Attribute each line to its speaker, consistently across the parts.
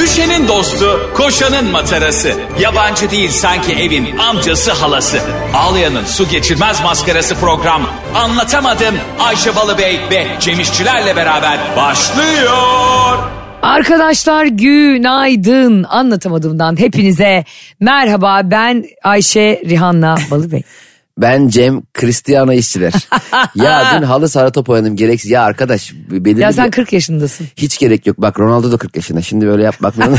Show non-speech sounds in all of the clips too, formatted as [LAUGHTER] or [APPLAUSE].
Speaker 1: Ayşe'nin dostu, koşanın matarası. Yabancı değil sanki evin amcası halası. Ağlayan'ın su geçirmez maskarası program. Anlatamadım Ayşe Balıbey ve Cemişçilerle beraber başlıyor.
Speaker 2: Arkadaşlar günaydın. Anlatamadığımdan hepinize merhaba. Ben Ayşe Rihanna Balıbey.
Speaker 3: Ben Cem
Speaker 2: [LAUGHS]
Speaker 3: Cristiano işçiler. ya dün halı saha top oynadım gereksiz. Ya arkadaş belirli
Speaker 2: ya
Speaker 3: bir-
Speaker 2: sen 40 yaşındasın.
Speaker 3: hiç gerek yok. Bak Ronaldo da 40 yaşında. Şimdi böyle
Speaker 2: [LAUGHS]
Speaker 3: yapmak lazım.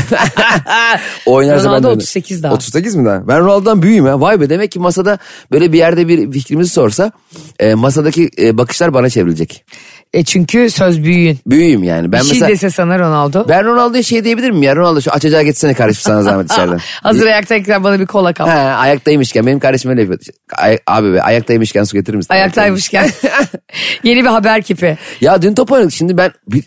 Speaker 3: [LAUGHS] Oynarsa
Speaker 2: Ronaldo
Speaker 3: ben de oynarım.
Speaker 2: 38 daha.
Speaker 3: 38 mi daha? Ben Ronaldo'dan büyüğüm ya. Vay be demek ki masada böyle bir yerde bir fikrimizi sorsa e, masadaki e, bakışlar bana çevrilecek.
Speaker 2: E çünkü söz büyüyün.
Speaker 3: Büyüğüm yani. Ben
Speaker 2: Bir şey
Speaker 3: mesela
Speaker 2: dese sana Ronaldo.
Speaker 3: ben Ronaldo'ya şey diyebilir miyim ya? Ronaldo şu açacağı geçsene kardeşim sana zahmet içeriden.
Speaker 2: [LAUGHS] Hazır ayaktayken bana bir kola kap.
Speaker 3: He, ayaktaymışken benim kardeşim öyle yapıyordu. Ay- abi be ayaktaymışken su getirir misin? [LAUGHS]
Speaker 2: Ayaktaymışken. Yeni bir haber kipi.
Speaker 3: Ya dün top oynadık şimdi ben bir,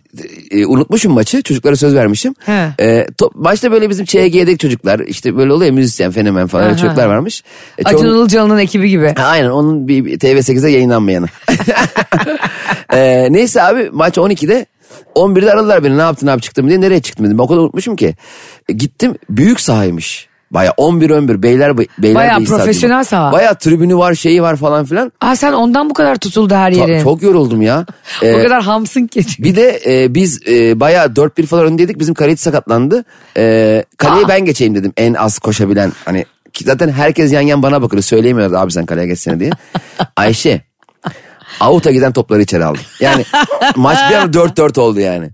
Speaker 3: e, unutmuşum maçı çocuklara söz vermişim.
Speaker 2: He.
Speaker 3: E, top, başta böyle bizim ÇG'deki çocuklar işte böyle oluyor ya, müzisyen fenomen falan öyle
Speaker 2: Aha.
Speaker 3: çocuklar varmış. E, çoğun-
Speaker 2: Acun Ilıcalı'nın ekibi gibi.
Speaker 3: Ha, Aynen onun bir bir TV8'e yayınlanmayanı.
Speaker 2: [LAUGHS]
Speaker 3: E, neyse abi maç 12'de 11'de aradılar beni ne yaptın abi çıktım diye nereye çıktım dedim. O kadar unutmuşum ki. E, gittim büyük sahaymış. Baya 11 11 beyler beyler
Speaker 2: Bayağı profesyonel saha.
Speaker 3: Baya tribünü var şeyi var falan filan.
Speaker 2: Aa sen ondan bu kadar tutuldu her
Speaker 3: Ta-
Speaker 2: yerin.
Speaker 3: Çok
Speaker 2: [LAUGHS]
Speaker 3: yoruldum ya. E,
Speaker 2: o kadar hamsın ki.
Speaker 3: bir de e, biz e, bayağı 4-1 falan öndeydik. Bizim kaleci sakatlandı. E, kaleye ben geçeyim dedim. En az koşabilen. Hani ki zaten herkes yan yan bana bakıyor. Söyleyemiyoruz abi sen kaleye
Speaker 2: [LAUGHS]
Speaker 3: geçsene diye. Ayşe. Avuta giden topları içeri aldı. Yani maç bir an 4-4 oldu yani.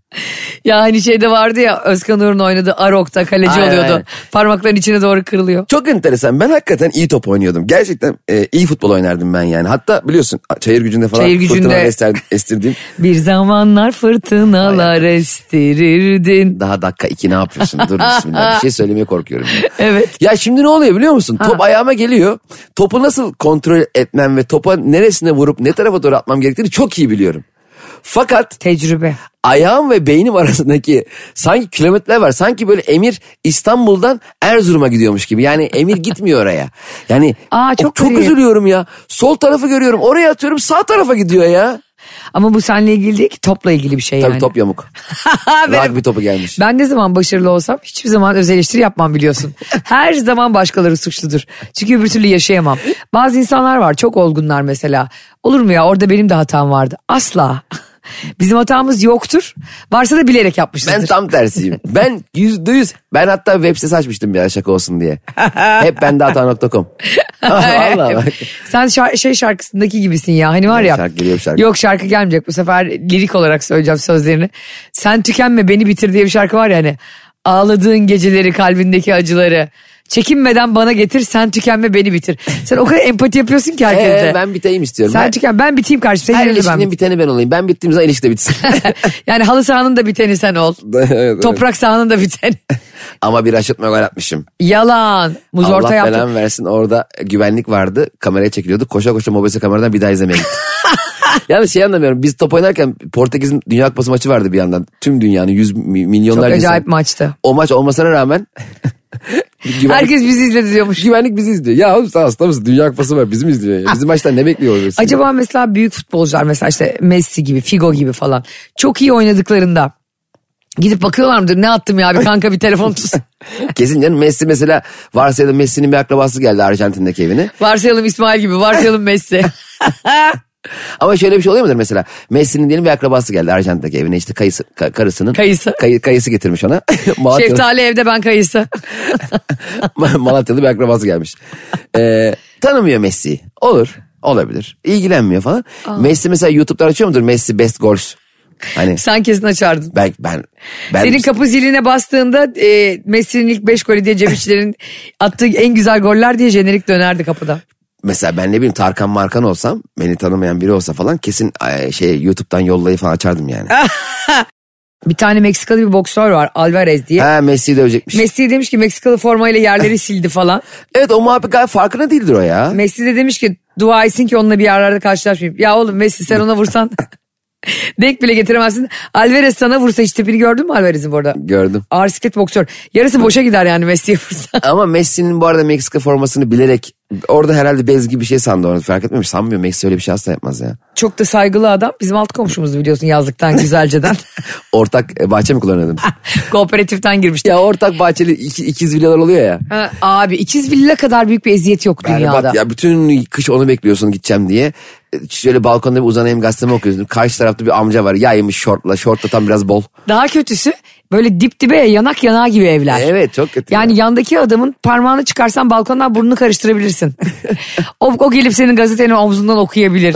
Speaker 2: Ya hani şeyde vardı ya Özkan Uğur'un oynadığı Arok'ta kaleci
Speaker 3: Aynen,
Speaker 2: oluyordu.
Speaker 3: aynen.
Speaker 2: Parmakların içine doğru kırılıyor.
Speaker 3: Çok enteresan. Ben hakikaten iyi top oynuyordum. Gerçekten e, iyi futbol oynardım ben yani. Hatta biliyorsun çayır gücünde falan
Speaker 2: Çayır Gücü'nde.
Speaker 3: fırtınalar ester- estirdiğim.
Speaker 2: Bir zamanlar fırtınalar estirirdin.
Speaker 3: Daha dakika iki ne yapıyorsun?
Speaker 2: [LAUGHS]
Speaker 3: Dur bismillah. Bir şey söylemeye korkuyorum. ya.
Speaker 2: Evet.
Speaker 3: Ya şimdi ne oluyor biliyor musun? Top ayağıma geliyor. Topu nasıl kontrol etmem ve topa neresine vurup ne tarafa doğru atmam gerektiğini çok iyi biliyorum. Fakat
Speaker 2: Tecrübe.
Speaker 3: ayağım ve beynim [LAUGHS] arasındaki sanki kilometreler var. Sanki böyle Emir İstanbul'dan Erzurum'a gidiyormuş gibi. Yani Emir gitmiyor oraya. Yani
Speaker 2: Aa, çok
Speaker 3: o- çok
Speaker 2: garip.
Speaker 3: üzülüyorum ya. Sol tarafı görüyorum oraya atıyorum sağ tarafa gidiyor ya.
Speaker 2: Ama bu seninle ilgili değil ki topla ilgili bir şey
Speaker 3: Tabii
Speaker 2: yani. [LAUGHS]
Speaker 3: top yamuk.
Speaker 2: Benim-
Speaker 3: Rugby topu gelmiş.
Speaker 2: Ben ne zaman başarılı olsam hiçbir zaman öz eleştiri yapmam
Speaker 3: [LAUGHS]
Speaker 2: biliyorsun. Her zaman başkaları suçludur. Çünkü öbür türlü yaşayamam. Bazı insanlar var çok olgunlar mesela. Olur mu ya orada benim de hatam vardı. Asla. [LAUGHS] Bizim hatamız yoktur. Varsa da bilerek yapmışızdır.
Speaker 3: Ben tam tersiyim. Ben yüzde yüz. Ben hatta web sitesi açmıştım ya şaka olsun diye. Hep
Speaker 2: [LAUGHS]
Speaker 3: bende hata.com. [LAUGHS] Valla bak.
Speaker 2: Sen şar- şey şarkısındaki gibisin ya hani var ya.
Speaker 3: Şarkı geliyor, şarkı.
Speaker 2: Yok şarkı gelmeyecek bu sefer lirik olarak söyleyeceğim sözlerini. Sen tükenme beni bitir diye bir şarkı var ya hani. Ağladığın geceleri kalbindeki acıları. Çekinmeden bana getir sen tükenme beni bitir. Sen o kadar empati yapıyorsun ki herkese.
Speaker 3: Ee, ben biteyim istiyorum.
Speaker 2: sen
Speaker 3: Her-
Speaker 2: tüken ben biteyim karşı
Speaker 3: her,
Speaker 2: senin yerine ben.
Speaker 3: ilişkinin biteni ben olayım. Ben bittiğim zaman ilişki
Speaker 2: [LAUGHS]
Speaker 3: de bitsin. [LAUGHS]
Speaker 2: yani halı sahanın da biteni sen ol.
Speaker 3: Evet, evet.
Speaker 2: Toprak sahanın da biteni.
Speaker 3: Ama bir aşırtma gol atmışım.
Speaker 2: Yalan. Muz orta
Speaker 3: Allah
Speaker 2: yaptı.
Speaker 3: belamı versin orada e, güvenlik vardı. Kameraya çekiliyordu. Koşa koşa mobese kameradan bir daha
Speaker 2: [LAUGHS]
Speaker 3: izlemeye gittim. Yani şey anlamıyorum biz top oynarken Portekiz'in Dünya Kupası maçı vardı bir yandan. Tüm dünyanın yüz mi-
Speaker 2: Çok
Speaker 3: milyonlarca
Speaker 2: acayip
Speaker 3: insan.
Speaker 2: maçtı.
Speaker 3: O maç olmasına
Speaker 2: [LAUGHS]
Speaker 3: rağmen güvenlik
Speaker 2: Herkes bizi izledi diyormuş.
Speaker 3: Güvenlik bizi izliyor. Ya oğlum sen hasta mısın? Dünya kupası var. Bizim izliyor ya. Bizim maçtan ne bekliyor olursun?
Speaker 2: Acaba mesela büyük futbolcular mesela işte Messi gibi Figo gibi falan çok iyi oynadıklarında gidip bakıyorlar mıdır ne attım ya abi kanka bir telefon
Speaker 3: [LAUGHS]
Speaker 2: tut.
Speaker 3: Kesin canım. Messi mesela varsayalım Messi'nin bir akrabası geldi Arjantin'deki evine.
Speaker 2: Varsayalım İsmail gibi varsayalım
Speaker 3: [LAUGHS]
Speaker 2: Messi.
Speaker 3: Ama şöyle bir şey oluyor mudur mesela? Messi'nin diyelim bir akrabası geldi Arjantin'deki evine. İşte kayısı, ka- karısının.
Speaker 2: Kayısı.
Speaker 3: Kay- kayısı getirmiş ona. [LAUGHS] Malatyalı,
Speaker 2: Şeftali evde ben kayısı.
Speaker 3: [LAUGHS] Malatyalı bir akrabası gelmiş. Ee, tanımıyor Messi'yi. Olur. Olabilir. İlgilenmiyor falan. Messi mesela YouTube'da açıyor mudur? Messi best goals. Hani
Speaker 2: Sen kesin açardın.
Speaker 3: ben ben ben
Speaker 2: Senin kapı ziline bastığında e, Messi'nin ilk 5 golü diye
Speaker 3: [LAUGHS]
Speaker 2: Cemişçilerin attığı en güzel goller diye jenerik dönerdi kapıda.
Speaker 3: mesela ben ne bileyim Tarkan Markan olsam beni tanımayan biri olsa falan kesin e, şey YouTube'dan yollayı falan açardım yani.
Speaker 2: Ah. Bir tane Meksikalı bir boksör var Alvarez diye.
Speaker 3: ha Messi'yi dövecekmiş.
Speaker 2: Messi demiş ki Meksikalı formayla yerleri sildi falan.
Speaker 3: evet o muhabbet gayet farkına değildir o ya.
Speaker 2: Messi de demiş ki dua etsin ki onunla bir yerlerde karşılaşmayayım. Ya oğlum Messi sen ona vursan [LAUGHS] Denk bile getiremezsin. Alvarez sana vursa hiç tipini gördün mü Alvarez'in bu arada?
Speaker 3: Gördüm.
Speaker 2: Ağır siklet boksör. Yarısı boşa gider yani Messi'ye vursa. [LAUGHS]
Speaker 3: Ama Messi'nin bu arada Meksika formasını bilerek orada herhalde bez gibi bir şey sandı onu fark etmemiş. Sanmıyorum Messi öyle bir şey asla yapmaz ya.
Speaker 2: Çok da saygılı adam. Bizim alt komşumuzdu biliyorsun yazlıktan güzelceden. [LAUGHS]
Speaker 3: Ortak e, bahçe mi kullanıyordun?
Speaker 2: Ah. Kooperatiften girmişti.
Speaker 3: ya ortak bahçeli iki- ikiz villalar oluyor ya.
Speaker 2: Ha, abi ikiz villa kadar büyük bir eziyet yok dünyada.
Speaker 3: Berbat ya bütün kış onu bekliyorsun gideceğim diye. E, Şöyle balkonda bir uzanayım gazetemi okuyorsun. Karşı tarafta bir amca var yaymış şortla. Şortla tam biraz bol.
Speaker 2: Daha kötüsü böyle dip dibe ya, yanak yanağı gibi evler.
Speaker 3: Evet çok kötü.
Speaker 2: Ah. Yani yandaki adamın parmağını çıkarsan balkondan burnunu
Speaker 3: [LAUGHS]
Speaker 2: karıştırabilirsin. o, o gelip senin gazeteni omzundan
Speaker 3: [LAUGHS]
Speaker 2: okuyabilir.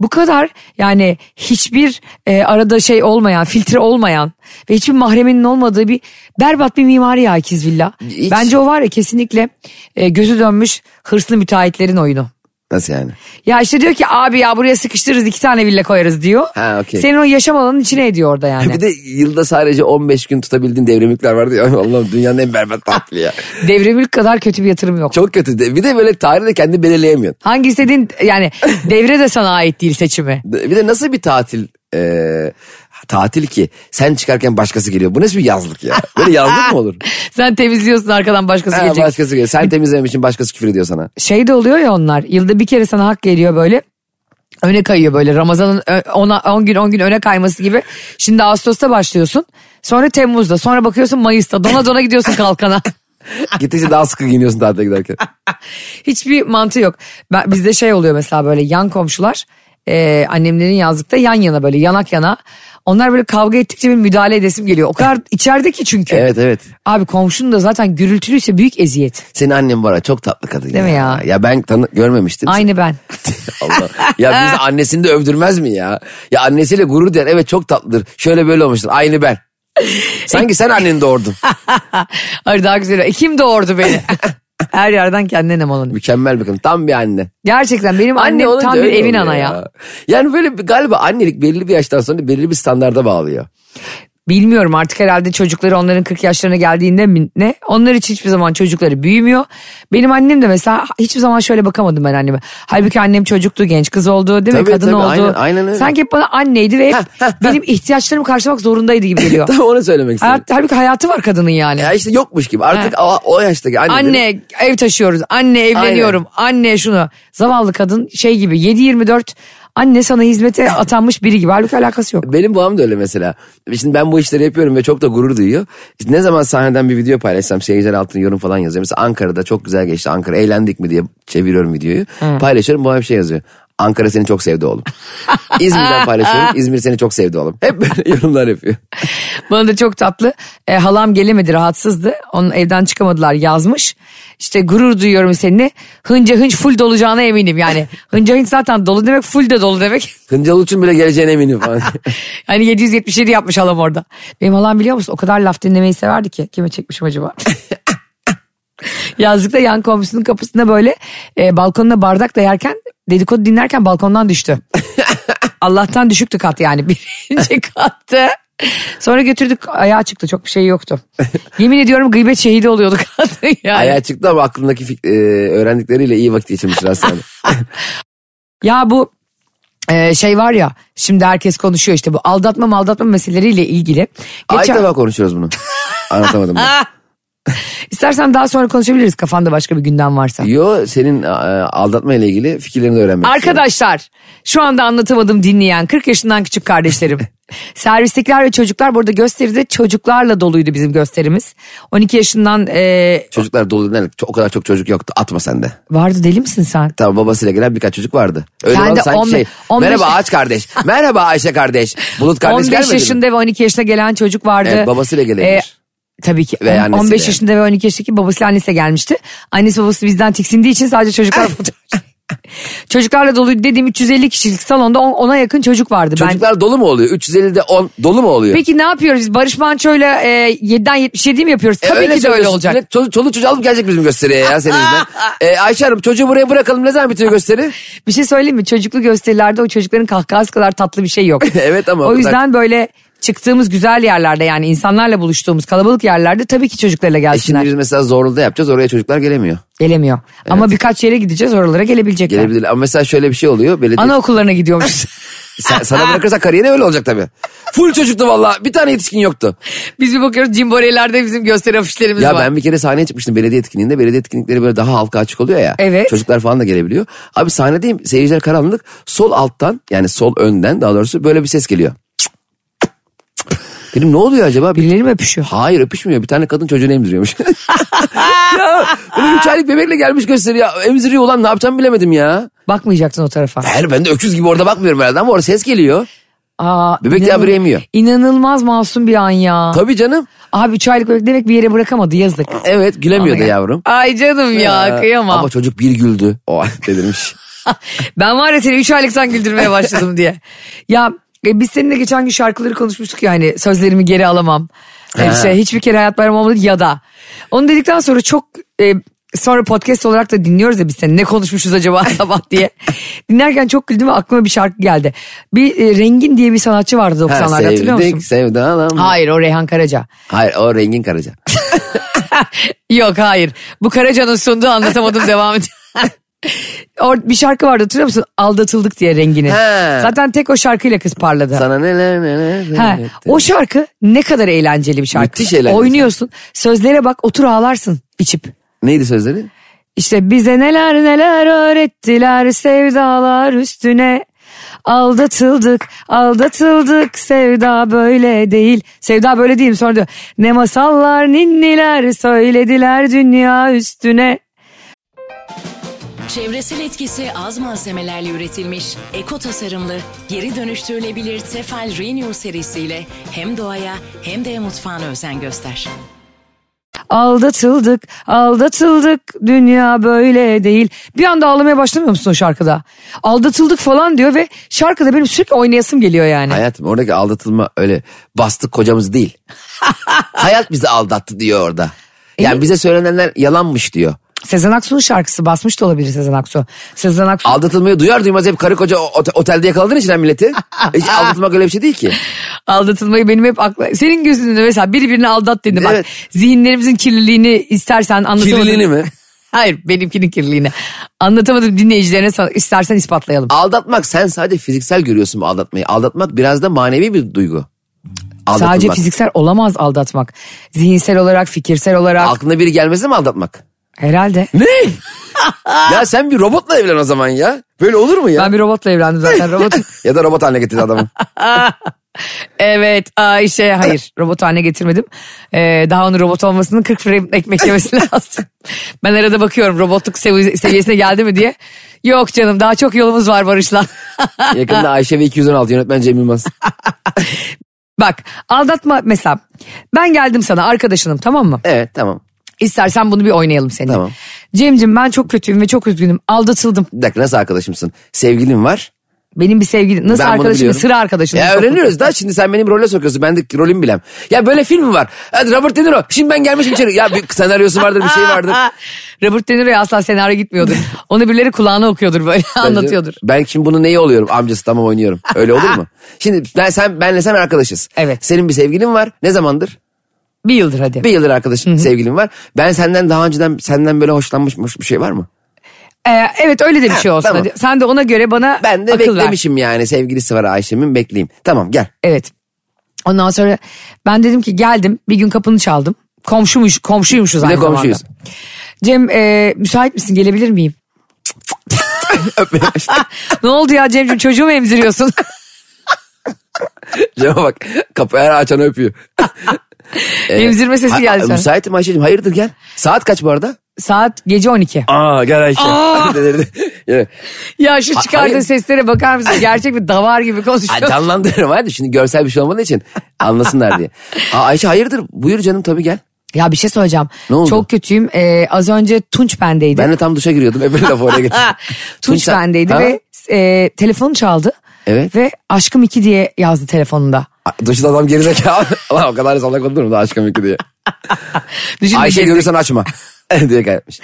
Speaker 2: Bu kadar yani hiçbir e, arada şey olmayan, filtre olmayan ve hiçbir mahremenin olmadığı bir berbat bir mimari ya ikiz villa.
Speaker 3: Hiç.
Speaker 2: Bence o var ya kesinlikle e, gözü dönmüş hırslı müteahhitlerin oyunu.
Speaker 3: Nasıl yani?
Speaker 2: Ya işte diyor ki abi ya buraya sıkıştırırız iki tane villa koyarız diyor.
Speaker 3: Ha, okey.
Speaker 2: Senin o yaşam alanının içine ediyor orada yani.
Speaker 3: [LAUGHS] Bir de yılda sadece 15 gün tutabildiğin devrimlikler vardı ya. [LAUGHS] Allah'ım dünyanın en berbat
Speaker 2: Ah.
Speaker 3: tatili ya.
Speaker 2: Devremülk kadar kötü bir yatırım yok.
Speaker 3: Çok kötü. De- Bir de böyle tarihi de kendi belirleyemiyorsun.
Speaker 2: Hangi istediğin yani devre de sana ait değil seçimi.
Speaker 3: De- Bir de nasıl bir tatil e, tatil ki sen çıkarken başkası geliyor. Bu nasıl bir yazlık ya? Böyle yazlık
Speaker 2: [LAUGHS]
Speaker 3: mı olur?
Speaker 2: Sen temizliyorsun arkadan başkası
Speaker 3: Ha,
Speaker 2: gelecek.
Speaker 3: başkası geliyor. Sen temizlememişsin başkası küfür ediyor sana.
Speaker 2: Şey de oluyor ya onlar yılda bir kere sana hak geliyor böyle. Öne kayıyor böyle Ramazan'ın 10 gün 10 gün öne kayması gibi. Şimdi Ağustos'ta başlıyorsun. Sonra Temmuz'da sonra bakıyorsun Mayıs'ta dona dona gidiyorsun kalkana.
Speaker 3: Gittikçe daha sıkı giyiniyorsun
Speaker 2: [LAUGHS]
Speaker 3: tatile giderken.
Speaker 2: Hiçbir mantığı yok. Ben, bizde şey oluyor mesela böyle yan komşular e, annemlerin yazlıkta yan yana böyle yanak yana. Onlar böyle kavga ettikçe bir müdahale edesim geliyor. O kadar içeride ki çünkü.
Speaker 3: Evet evet.
Speaker 2: Abi komşunun da zaten gürültülüyse büyük eziyet.
Speaker 3: Senin annen var ya çok tatlı kadın.
Speaker 2: Değil mi ya?
Speaker 3: Ya ben tanı görmemiştim.
Speaker 2: Aynı
Speaker 3: [LAUGHS]
Speaker 2: ben.
Speaker 3: Allah. Ya
Speaker 2: [LAUGHS]
Speaker 3: biz annesini de övdürmez mi ya? Ya annesiyle gurur duyar. Evet çok tatlıdır. Şöyle böyle olmuştur. Aynı ben. Sanki sen
Speaker 2: [LAUGHS]
Speaker 3: anneni doğurdun.
Speaker 2: Hayır daha güzel. E, kim doğurdu beni? [LAUGHS] Her yerden kendine nemalanıyor.
Speaker 3: Mükemmel bir kadın. Tam bir anne.
Speaker 2: Gerçekten benim annem
Speaker 3: olunca
Speaker 2: tam bir
Speaker 3: öyle
Speaker 2: evin
Speaker 3: oluyor
Speaker 2: ana ya.
Speaker 3: Yani böyle bir, galiba annelik belli bir yaştan sonra belli bir standarda bağlıyor.
Speaker 2: Bilmiyorum artık herhalde çocukları onların 40 yaşlarına geldiğinde mi ne? Onlar için hiçbir zaman çocukları büyümüyor. Benim annem de mesela hiçbir zaman şöyle bakamadım ben anneme. Halbuki annem çocuktu, genç kız oldu değil
Speaker 3: Tabii,
Speaker 2: mi? Kadın
Speaker 3: tabii,
Speaker 2: oldu.
Speaker 3: aynen, aynen öyle.
Speaker 2: Sanki hep bana anneydi ve hep benim ihtiyaçlarımı karşılamak zorundaydı gibi
Speaker 3: [LAUGHS]
Speaker 2: geliyor.
Speaker 3: Tam onu söylemek istedim.
Speaker 2: Hayat, halbuki hayatı var kadının yani.
Speaker 3: Ya işte yokmuş gibi. Artık o, o yaştaki anne.
Speaker 2: Anne ev taşıyoruz. Anne evleniyorum. Anne şunu. Zavallı kadın şey gibi 7-24 anne sana hizmete atanmış biri gibi. Halbuki alakası yok.
Speaker 3: Benim babam da öyle mesela. Şimdi ben bu işleri yapıyorum ve çok da gurur duyuyor. İşte ne zaman sahneden bir video paylaşsam seyirciler altına yorum falan yazıyor. Mesela Ankara'da çok güzel geçti. Ankara eğlendik mi diye çeviriyorum videoyu. Paylaşıyorum babam bir şey yazıyor. Ankara seni çok sevdi oğlum. İzmir'den paylaşıyorum. İzmir seni çok sevdi oğlum. Hep böyle [LAUGHS] yorumlar yapıyor.
Speaker 2: Bana da çok tatlı. E, halam gelemedi rahatsızdı. Onun evden çıkamadılar yazmış. İşte gurur duyuyorum seninle. Hınca hınç full dolacağına eminim yani. Hınca hınç zaten dolu demek full de dolu demek.
Speaker 3: Hıncal için bile geleceğine eminim falan.
Speaker 2: Hani 777 yapmış halam orada. Benim halam biliyor musun o kadar laf dinlemeyi severdi ki. Kime çekmişim acaba? [LAUGHS] Yazlıkta yan komşusunun kapısında böyle e, balkonuna bardakla yerken dedikodu dinlerken balkondan düştü. Allah'tan düşüktü kat yani [LAUGHS] birinci kattı. Sonra götürdük ayağa çıktı çok bir şey yoktu. Yemin ediyorum gıybet şehidi oluyordu [LAUGHS] kadın yani.
Speaker 3: Ayağa çıktı ama aklındaki fik- e, öğrendikleriyle iyi vakit geçirmiştir aslında.
Speaker 2: Ya bu e, şey var ya şimdi herkes konuşuyor işte bu aldatma maldatma meseleleriyle ilgili.
Speaker 3: Ay
Speaker 2: Geçen-
Speaker 3: defa konuşuyoruz bunu. Anlatamadım. bunu.
Speaker 2: İstersen daha sonra konuşabiliriz kafanda başka bir gündem varsa.
Speaker 3: Yo senin e, aldatma ile ilgili fikirlerini de öğrenmek istiyorum.
Speaker 2: Arkadaşlar şu anda anlatamadım dinleyen 40 yaşından küçük kardeşlerim.
Speaker 3: [LAUGHS]
Speaker 2: Servistekiler ve çocuklar burada gösteride çocuklarla doluydu bizim gösterimiz. 12 yaşından e,
Speaker 3: Çocuklar dolu değil, o kadar çok çocuk yoktu. Atma sen de.
Speaker 2: vardı deli misin sen?
Speaker 3: Tamam babasıyla gelen birkaç çocuk vardı. Öyle
Speaker 2: Ben
Speaker 3: vardı
Speaker 2: de
Speaker 3: sanki
Speaker 2: on-
Speaker 3: şey.
Speaker 2: on beş-
Speaker 3: Merhaba
Speaker 2: [LAUGHS]
Speaker 3: Ağaç kardeş. Merhaba Ayşe kardeş. Bulut kardeş
Speaker 2: 15
Speaker 3: gelmedi mi?
Speaker 2: yaşında ve 12 yaşında gelen çocuk vardı. E,
Speaker 3: Evet, babasıyla gelebilir.
Speaker 2: tabii ki.
Speaker 3: Ve
Speaker 2: On-
Speaker 3: annesiyle
Speaker 2: 15
Speaker 3: yani.
Speaker 2: yaşında ve 12 yaşındaki babasıyla annesiyle gelmişti. Annesi babası bizden tiksindiği için sadece
Speaker 3: [LAUGHS]
Speaker 2: çocuklar [LAUGHS] Çocuklarla doluydu dediğim 350 kişilik salonda on- ona yakın çocuk vardı. Ben-
Speaker 3: Çocuklar dolu mu oluyor? 350'de 10 dolu mu oluyor?
Speaker 2: Peki ne yapıyoruz biz? Barış Manço'yla e, 7'den 77 mi yapıyoruz?
Speaker 3: E,
Speaker 2: Tabii ki de öyle
Speaker 3: söylüyorsun.
Speaker 2: olacak.
Speaker 3: Millet Çoluk, çoluk çocuğu alıp gelecek bizim gösteriye ya
Speaker 2: [LAUGHS]
Speaker 3: senin yüzünden. E, Ayşe Hanım çocuğu buraya bırakalım ne zaman bitiyor gösteri? E,
Speaker 2: Bir şey söyleyeyim mi? Çocuklu gösterilerde o çocukların kahkahası kadar tatlı bir şey yok.
Speaker 3: [LAUGHS] Evet ama o
Speaker 2: O
Speaker 3: kadar-
Speaker 2: yüzden böyle çıktığımız güzel yerlerde yani insanlarla buluştuğumuz kalabalık yerlerde tabii ki çocuklarıyla
Speaker 3: E
Speaker 2: gelsinler.
Speaker 3: şimdi biz mesela zorluda yapacağız oraya çocuklar gelemiyor.
Speaker 2: Gelemiyor. Ama birkaç yere gideceğiz oralara gelebilecekler.
Speaker 3: Gelebilir ama mesela şöyle bir şey oluyor. Belediye,
Speaker 2: Anaokullarına
Speaker 3: [LAUGHS]
Speaker 2: gidiyormuşuz.
Speaker 3: Sen- sana bırakırsak kariyeri öyle olacak tabii. Full çocuktu valla bir tane yetişkin yoktu.
Speaker 2: Biz bir bakıyoruz cimborelerde bizim gösteri afişlerimiz
Speaker 3: Ya
Speaker 2: var.
Speaker 3: ben bir kere sahneye çıkmıştım belediye etkinliğinde. Belediye etkinlikleri böyle daha halka açık oluyor ya.
Speaker 2: Evet.
Speaker 3: Çocuklar falan da gelebiliyor. Abi sahnedeyim seyirciler karanlık. Sol alttan yani sol önden daha doğrusu böyle bir ses geliyor. Dedim ne oluyor acaba? Bir-
Speaker 2: Birileri mi öpüşüyor?
Speaker 3: Hayır öpüşmüyor. Bir tane kadın
Speaker 2: [LAUGHS]
Speaker 3: çocuğunu emziriyormuş. ya böyle üç aylık bebekle gelmiş gösteriyor. Emziriyor ulan ne yapacağımı bilemedim ya.
Speaker 2: Bakmayacaktın o tarafa.
Speaker 3: Hayır ben de öküz gibi orada bakmıyorum herhalde ama orada ses geliyor.
Speaker 2: Aa,
Speaker 3: Bebek
Speaker 2: inanıl-
Speaker 3: habire emiyor.
Speaker 2: İnanılmaz masum bir an ya.
Speaker 3: Tabii canım.
Speaker 2: Abi üç aylık bebek demek bir yere bırakamadı yazık.
Speaker 3: Evet gülemiyordu
Speaker 2: Ay.
Speaker 3: yavrum.
Speaker 2: Ay canım ya,
Speaker 3: Ee,
Speaker 2: kıyamam.
Speaker 3: Ama çocuk bir güldü. O delirmiş.
Speaker 2: ben var ya seni 3 aylıktan güldürmeye başladım
Speaker 3: [LAUGHS]
Speaker 2: diye. Ya e, biz seninle geçen gün şarkıları konuşmuştuk ya hani sözlerimi geri alamam. E,
Speaker 3: Ha.
Speaker 2: İşte hiçbir kere hayat bayram olmadı ya da. Onu dedikten sonra çok e, sonra podcast olarak da dinliyoruz ya biz seni ne konuşmuşuz acaba [LAUGHS] sabah diye. Dinlerken çok güldüm ve aklıma bir şarkı geldi. Bir e, Rengin diye bir sanatçı vardı
Speaker 3: Ha,
Speaker 2: 90'larda hatırlıyor musun?
Speaker 3: Sevdik sevdalam.
Speaker 2: Hayır o Reyhan Karaca.
Speaker 3: Hayır o
Speaker 2: [LAUGHS]
Speaker 3: rengin karaca.
Speaker 2: Yok hayır. Bu Karaca'nın sunduğu anlatamadım devam ediyor. [LAUGHS] Or- bir şarkı vardı hatırlıyor musun? Aldatıldık diye rengini.
Speaker 3: He.
Speaker 2: Zaten tek o şarkıyla kız parladı.
Speaker 3: Sana neler neler.
Speaker 2: He,
Speaker 3: neler-
Speaker 2: o şarkı ne kadar eğlenceli bir şarkı.
Speaker 3: Müthiş eğlenceli.
Speaker 2: Oynuyorsun. Sözlere bak otur ağlarsın içip.
Speaker 3: Neydi sözleri?
Speaker 2: İşte bize neler neler öğrettiler sevdalar üstüne. Aldatıldık, aldatıldık sevda böyle değil. Sevda böyle değil mi? Sonra diyor ne masallar ninniler söylediler dünya üstüne.
Speaker 4: Çevresel etkisi az malzemelerle üretilmiş, eko tasarımlı, geri dönüştürülebilir Tefal Renew serisiyle hem doğaya hem de mutfağına özen göster.
Speaker 2: Aldatıldık, aldatıldık, dünya böyle değil. Bir anda ağlamaya başlamıyor musun o şarkıda? Aldatıldık falan diyor ve şarkıda benim sürekli oynayasım geliyor yani.
Speaker 3: Hayatım oradaki aldatılma öyle bastık
Speaker 2: [LAUGHS]
Speaker 3: kocamız değil. Hayat bizi aldattı diyor orada.
Speaker 2: E
Speaker 3: Yani bize söylenenler yalanmış diyor.
Speaker 2: Sezen Aksu'nun şarkısı basmış da olabilir Sezen Aksu. Sezen Aksu
Speaker 3: Aldatılmayı duyar duymaz hep karı koca o- ote- otelde yakaladığın için
Speaker 2: [LAUGHS]
Speaker 3: lan milleti. Hiç aldatılmak öyle bir şey değil ki.
Speaker 2: aldatılmayı benim hep akla... Senin gözünde mesela birbirini aldat dedi bak.
Speaker 3: Evet.
Speaker 2: Zihinlerimizin kirliliğini istersen anlatamadım.
Speaker 3: Kirliliğini mi?
Speaker 2: Hayır benimkinin kirliliğini. Anlatamadım dinleyicilerine sana- istersen ispatlayalım.
Speaker 3: Aldatmak sen sadece fiziksel görüyorsun bu aldatmayı. Aldatmak biraz da manevi bir duygu. Aldatılmak.
Speaker 2: Sadece fiziksel olamaz aldatmak. Zihinsel olarak, fikirsel olarak
Speaker 3: Aklına biri gelmesi mi aldatmak?
Speaker 2: herhalde.
Speaker 3: Ne? ya sen bir robotla evlen o zaman ya. Böyle olur mu ya?
Speaker 2: Ben bir robotla evlendim zaten.
Speaker 3: [LAUGHS]
Speaker 2: Robot.
Speaker 3: Ya da robot haline
Speaker 2: [LAUGHS]
Speaker 3: getirdi adamı.
Speaker 2: evet Ayşe hayır robot haline getirmedim. Ee, daha onun robot olmasının 40 frame ekmek
Speaker 3: [LAUGHS]
Speaker 2: yemesi lazım. ben arada bakıyorum robotluk sevi- seviyesine geldi mi diye. Yok canım daha çok yolumuz var Barış'la. [LAUGHS]
Speaker 3: Yakında Ayşe ve 216 yönetmen Cem Yılmaz.
Speaker 2: Bak aldatma mesela ben geldim sana arkadaşınım tamam mı?
Speaker 3: Evet tamam.
Speaker 2: İstersen bunu bir oynayalım seninle.
Speaker 3: Tamam.
Speaker 2: Cem'cim ben çok kötüyüm ve çok üzgünüm aldatıldım.
Speaker 3: Bir dakika nasıl arkadaşımsın? Sevgilim var.
Speaker 2: Benim bir sevgilim nasıl
Speaker 3: Ben bunu
Speaker 2: arkadaşım
Speaker 3: biliyorum.
Speaker 2: sıra arkadaşım.
Speaker 3: Ya öğreniyoruz da şimdi sen benim role sokuyorsun. Ben de rolümü bilem. Ya böyle film mi var? Hadi Robert De Niro. Şimdi ben gelmişim içeri. Ya bir senaryosu vardır bir şey vardır.
Speaker 2: Robert De Niro'ya asla senaryo
Speaker 3: [LAUGHS]
Speaker 2: gitmiyordur. Onu birileri kulağına okuyordur böyle [LAUGHS] anlatıyordur.
Speaker 3: Ben şimdi bunu neyi oluyorum? Amcası tamam oynuyorum. Öyle
Speaker 2: [LAUGHS]
Speaker 3: olur mu? Şimdi ben sen benle sen arkadaşız.
Speaker 2: Evet.
Speaker 3: Senin bir sevgilin var. Ne zamandır?
Speaker 2: Bir yıldır hadi.
Speaker 3: Bir yıldır arkadaşım sevgilim var. Ben senden daha önceden senden böyle hoşlanmış bir şey var mı?
Speaker 2: Ee, evet öyle de bir
Speaker 3: Ha,
Speaker 2: şey olsun.
Speaker 3: tamam.
Speaker 2: hadi. Sen de ona göre bana
Speaker 3: Ben de
Speaker 2: akıl ver.
Speaker 3: beklemişim yani sevgilisi var Ayşem'in bekleyeyim. Tamam gel. [LAUGHS]
Speaker 2: Evet. Ondan sonra ben dedim ki geldim bir gün kapını çaldım. Komşumuş, komşuymuşuz
Speaker 3: Bir
Speaker 2: aynı
Speaker 3: de komşuyuz.
Speaker 2: zamanda. Cem e, müsait misin gelebilir miyim? [LAUGHS] ne oldu ya Cem'cim çocuğu mu
Speaker 3: [LAUGHS]
Speaker 2: emziriyorsun?
Speaker 3: Cema bak kapı her açan öpüyor.
Speaker 2: Emzirme
Speaker 3: Ha-
Speaker 2: sesi geldi.
Speaker 3: ha-
Speaker 2: sonra.
Speaker 3: Müsaitim Ayşe'cim hayırdır gel. Saat kaç bu arada?
Speaker 2: Saat gece 12.
Speaker 3: Aa gel Ayşe. [LAUGHS]
Speaker 2: Ya şu çıkardığın
Speaker 3: hayır.
Speaker 2: seslere bakar mısın? Gerçek bir davar gibi konuşuyor.
Speaker 3: Canlandırıyorum hadi şimdi görsel bir şey olmadığı için anlasınlar diye. Aa, Ayşe hayırdır buyur canım tabii gel.
Speaker 2: Ya bir şey söyleyeceğim.
Speaker 3: Ne oldu?
Speaker 2: Çok kötüyüm. Ee, az önce Tunç bendeydi.
Speaker 3: Ben de tam duşa giriyordum. Öbür lafı
Speaker 2: [LAUGHS]
Speaker 3: oraya getirdim.
Speaker 2: Tunç
Speaker 3: sen-
Speaker 2: bendeydi
Speaker 3: Ha?
Speaker 2: ve e, telefonu çaldı.
Speaker 3: Evet.
Speaker 2: Ve aşkım 2 diye yazdı telefonunda.
Speaker 3: A- Duşta adam gerizekalı. [LAUGHS] Allah o kadar salak olur mu da aşkım iki diye.
Speaker 2: Düşün
Speaker 3: Ayşe
Speaker 2: bir kez- [LAUGHS]
Speaker 3: görürsen açma. [LAUGHS] diye kaybetmiş.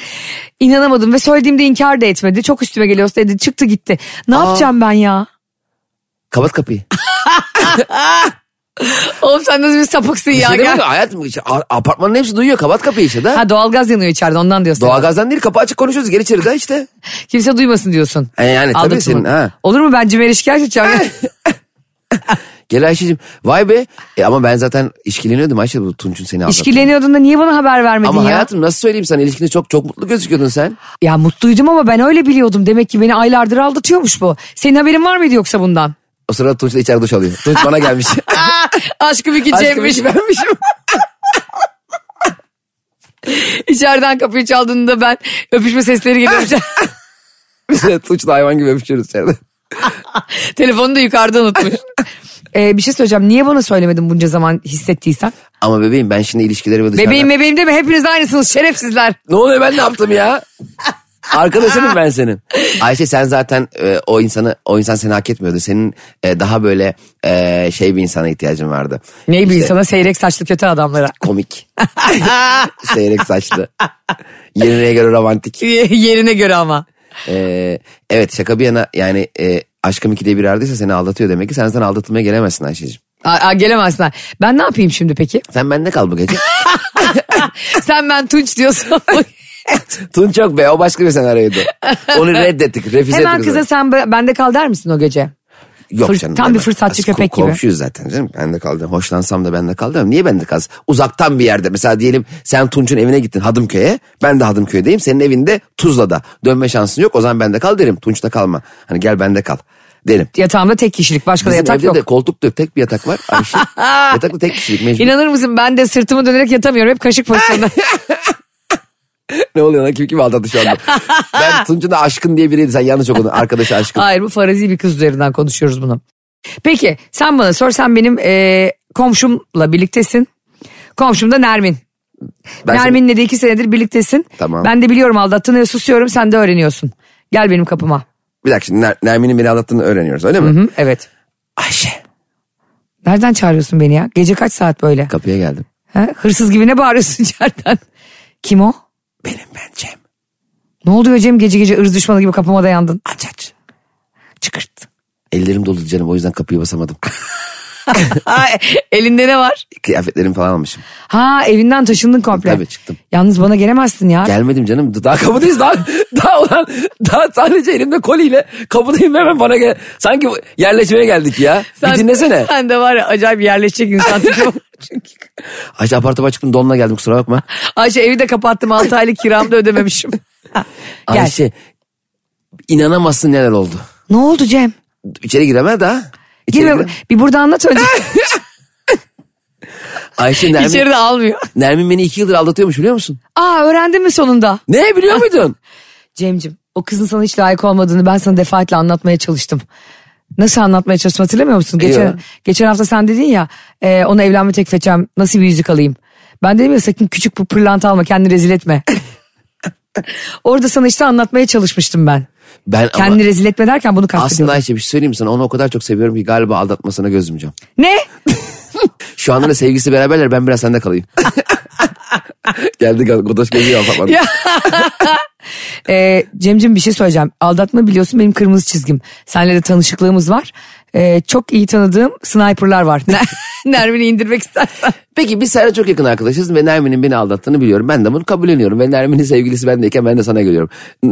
Speaker 2: İnanamadım ve söylediğimde inkar da etmedi. Çok üstüme geliyorsun dedi. Çıktı gitti. Ne yapacağım ben ya?
Speaker 3: Kapat kapıyı.
Speaker 2: Oğlum sen nasıl bir sapıksın ya.
Speaker 3: şey demek
Speaker 2: gel.
Speaker 3: ki hayatım işte a- apartmanın hepsi duyuyor. Kapat kapıyı işte de.
Speaker 2: Ha doğalgaz yanıyor içeride ondan diyorsun.
Speaker 3: Doğalgazdan değil kapı açık konuşuyoruz. Gel içeride işte.
Speaker 2: Kimse duymasın diyorsun.
Speaker 3: E, yani tabii
Speaker 2: Aldatılma.
Speaker 3: senin, ha. Eh.
Speaker 2: Olur mu ben Cimer'e şikayet edeceğim. [LAUGHS]
Speaker 3: Gel Ayşe'cim. Vay be. E, ama ben zaten işkileniyordum Ayşe bu Tunç'un seni aldattı.
Speaker 2: İşkileniyordun da niye bana haber vermedin
Speaker 3: Ama
Speaker 2: ya?
Speaker 3: hayatım nasıl söyleyeyim sana ilişkinde çok çok mutlu gözüküyordun sen.
Speaker 2: Ya mutluydum ama ben öyle biliyordum. Demek ki beni aylardır aldatıyormuş bu. Senin haberin var mıydı yoksa bundan?
Speaker 3: O sırada Tunç da içeride duş alıyor. Tunç
Speaker 2: [LAUGHS]
Speaker 3: bana gelmiş. şey
Speaker 2: Aşkım iki
Speaker 3: Aşkım
Speaker 2: Cem'miş.
Speaker 3: işi vermişim.
Speaker 2: İçeriden kapıyı çaldığında ben öpüşme sesleri geliyormuş.
Speaker 3: [LAUGHS]
Speaker 2: [LAUGHS]
Speaker 3: Biz [LAUGHS] de Tunç'la hayvan gibi öpüşüyoruz içeride.
Speaker 2: Telefonu da yukarıda unutmuş. [LAUGHS] Ee, bir şey söyleyeceğim. Niye bana söylemedin bunca zaman hissettiysen?
Speaker 3: Ama bebeğim ben şimdi ilişkileri böyle dışarıdan...
Speaker 2: Bebeğim bebeğim deme hepiniz aynısınız şerefsizler.
Speaker 3: Ne oluyor ben ne yaptım ya? Arkadaşınım ben senin. Ayşe sen zaten e, o insanı o insan seni hak etmiyordu. Senin e, daha böyle e, şey bir insana ihtiyacın vardı.
Speaker 2: Ney bir
Speaker 3: İşte
Speaker 2: insana seyrek saçlı kötü adamlara. [LAUGHS]
Speaker 3: Komik. [LAUGHS] Seyrek saçlı. Yerine göre romantik.
Speaker 2: Yerine göre ama.
Speaker 3: E, evet şaka bir yana yani e, aşkım ikide bir aradıysa seni aldatıyor demek ki sen zaten aldatılmaya gelemezsin Ayşe'ciğim.
Speaker 2: Aa, aa, gelemezler. Ben ne yapayım şimdi [LAUGHS] peki?
Speaker 3: Sen bende kal bu gece.
Speaker 2: Sen ben Tunç diyorsun. [LAUGHS]
Speaker 3: Tunç yok be o başka bir senaryoydu. Onu reddettik refüze
Speaker 2: Hemen
Speaker 3: ettik.
Speaker 2: kıza sen be- bende kal der misin o gece?
Speaker 3: Yok
Speaker 2: Fır-
Speaker 3: canım.
Speaker 2: tam bir
Speaker 3: demem.
Speaker 2: fırsatçı
Speaker 3: Biz
Speaker 2: köpek gibi.
Speaker 3: Komşuyuz zaten canım. Ben de kaldım. Hoşlansam da ben de kaldım. Niye ben de kalsın? Uzaktan bir yerde. Mesela diyelim sen Tunç'un evine gittin Hadımköy'e. Ben de Hadımköy'deyim. Senin evinde Tuzla'da. Dönme şansın yok. O zaman ben de kal derim. Tunç'ta kalma. Hani gel ben de kal derim.
Speaker 2: Yatağımda tek kişilik başka da
Speaker 3: Bizim
Speaker 2: yatak
Speaker 3: evde
Speaker 2: yok.
Speaker 3: de koltuk da yok. Tek bir yatak var.
Speaker 2: [LAUGHS]
Speaker 3: Ayşe. yataklı tek kişilik mecbur.
Speaker 2: İnanır mısın ben de sırtımı dönerek yatamıyorum hep kaşık [LAUGHS] pozisyonda.
Speaker 3: ne oluyor lan? Kim kim aldattı şu anda?
Speaker 2: [LAUGHS]
Speaker 3: ben Tunç'un da aşkın diye biriydi. Sen yanlış okudun. Arkadaşı aşkın.
Speaker 2: Hayır bu farazi bir kız üzerinden konuşuyoruz bunu. Peki sen bana sor sen benim e, komşumla birliktesin. Komşum da Nermin.
Speaker 3: Ben seni-
Speaker 2: Nermin'le de iki senedir birliktesin.
Speaker 3: Tamam.
Speaker 2: Ben de biliyorum aldattığını ve susuyorum sen de öğreniyorsun. Gel benim kapıma.
Speaker 3: Bir dakika şimdi Ner- Nermin'in beni aldattığını öğreniyoruz öyle mi?
Speaker 2: Hı, evet.
Speaker 3: Ayşe.
Speaker 2: Nereden çağırıyorsun beni ya? Gece kaç saat böyle?
Speaker 3: Kapıya geldim.
Speaker 2: Ha? Hırsız gibi ne bağırıyorsun [LAUGHS] içeriden? Kim o?
Speaker 3: Benim ben Cem.
Speaker 2: Ne oldu be Cem gece gece ırz düşmanı gibi kapıma dayandın?
Speaker 3: Aç aç. [LAUGHS]
Speaker 2: Çıkırt.
Speaker 3: Ellerim dolu canım o yüzden kapıyı basamadım. [LAUGHS]
Speaker 2: Ay, elinde ne var?
Speaker 3: Kıyafetlerimi falan almışım.
Speaker 2: Ha evinden taşındın komple.
Speaker 3: Tabii, çıktım.
Speaker 2: Yalnız bana gelemezsin ya.
Speaker 3: Gelmedim canım daha kapıdayız daha [LAUGHS] daha olan daha sadece elimde koliyle kapıdayım hemen bana gel. Sanki yerleşmeye geldik ya. bir dinlesene.
Speaker 2: [LAUGHS] Sen de var ya acayip yerleşecek [LAUGHS] insan tipi var çünkü.
Speaker 3: Ayşe apartman çıktım donla geldim kusura bakma.
Speaker 2: Ayşe evi de kapattım 6 aylık kiramı da ödememişim. Gel.
Speaker 3: Ayşe inanamazsın neler oldu.
Speaker 2: Ne oldu Cem?
Speaker 3: İçeri giremez daha. İçeri
Speaker 2: Girme
Speaker 3: giremez.
Speaker 2: bir burada anlat önce.
Speaker 3: Ayşe Nermin,
Speaker 2: [LAUGHS] İçeri de almıyor.
Speaker 3: Nermin beni iki yıldır aldatıyormuş biliyor musun?
Speaker 2: Aa öğrendin mi sonunda?
Speaker 3: Ne
Speaker 2: Ah,
Speaker 3: biliyor muydun?
Speaker 2: Cemcim o kızın sana hiç layık olmadığını ben sana defaatle anlatmaya çalıştım. Nasıl anlatmaya çalıştım hatırlamıyor musun? Geçen,
Speaker 3: Yok.
Speaker 2: geçen hafta sen dedin ya e, ona evlenme teklif edeceğim nasıl bir yüzük alayım. Ben dedim ya sakın küçük bir pırlanta alma kendini rezil [LAUGHS] etme. Orada sana işte anlatmaya çalışmıştım ben.
Speaker 3: Ben ama
Speaker 2: Kendini rezil etme derken bunu
Speaker 3: aslında
Speaker 2: kastediyorum.
Speaker 3: Ayşe bir şey söyleyeyim mi sana onu o kadar çok seviyorum ki galiba aldatmasına göz yumacağım.
Speaker 2: Ne?
Speaker 3: Şu anda da sevgilisi beraberler ben biraz
Speaker 2: [LAUGHS]
Speaker 3: sende kalayım. Geldi gal- Godoş geliyor apartmana.
Speaker 2: Ya. Ee, Cemcim bir şey söyleyeceğim. Aldatma biliyorsun benim kırmızı çizgim. Seninle de tanışıklığımız var. Ee, çok iyi tanıdığım sniperlar var. [LAUGHS] Ner- Nermin'i indirmek istersen.
Speaker 3: Peki biz seninle çok yakın arkadaşız ve Nermin'in beni aldattığını biliyorum. Ben de bunu kabulleniyorum ve Nermin'in sevgilisi bendeyken ben de sana geliyorum. [LAUGHS]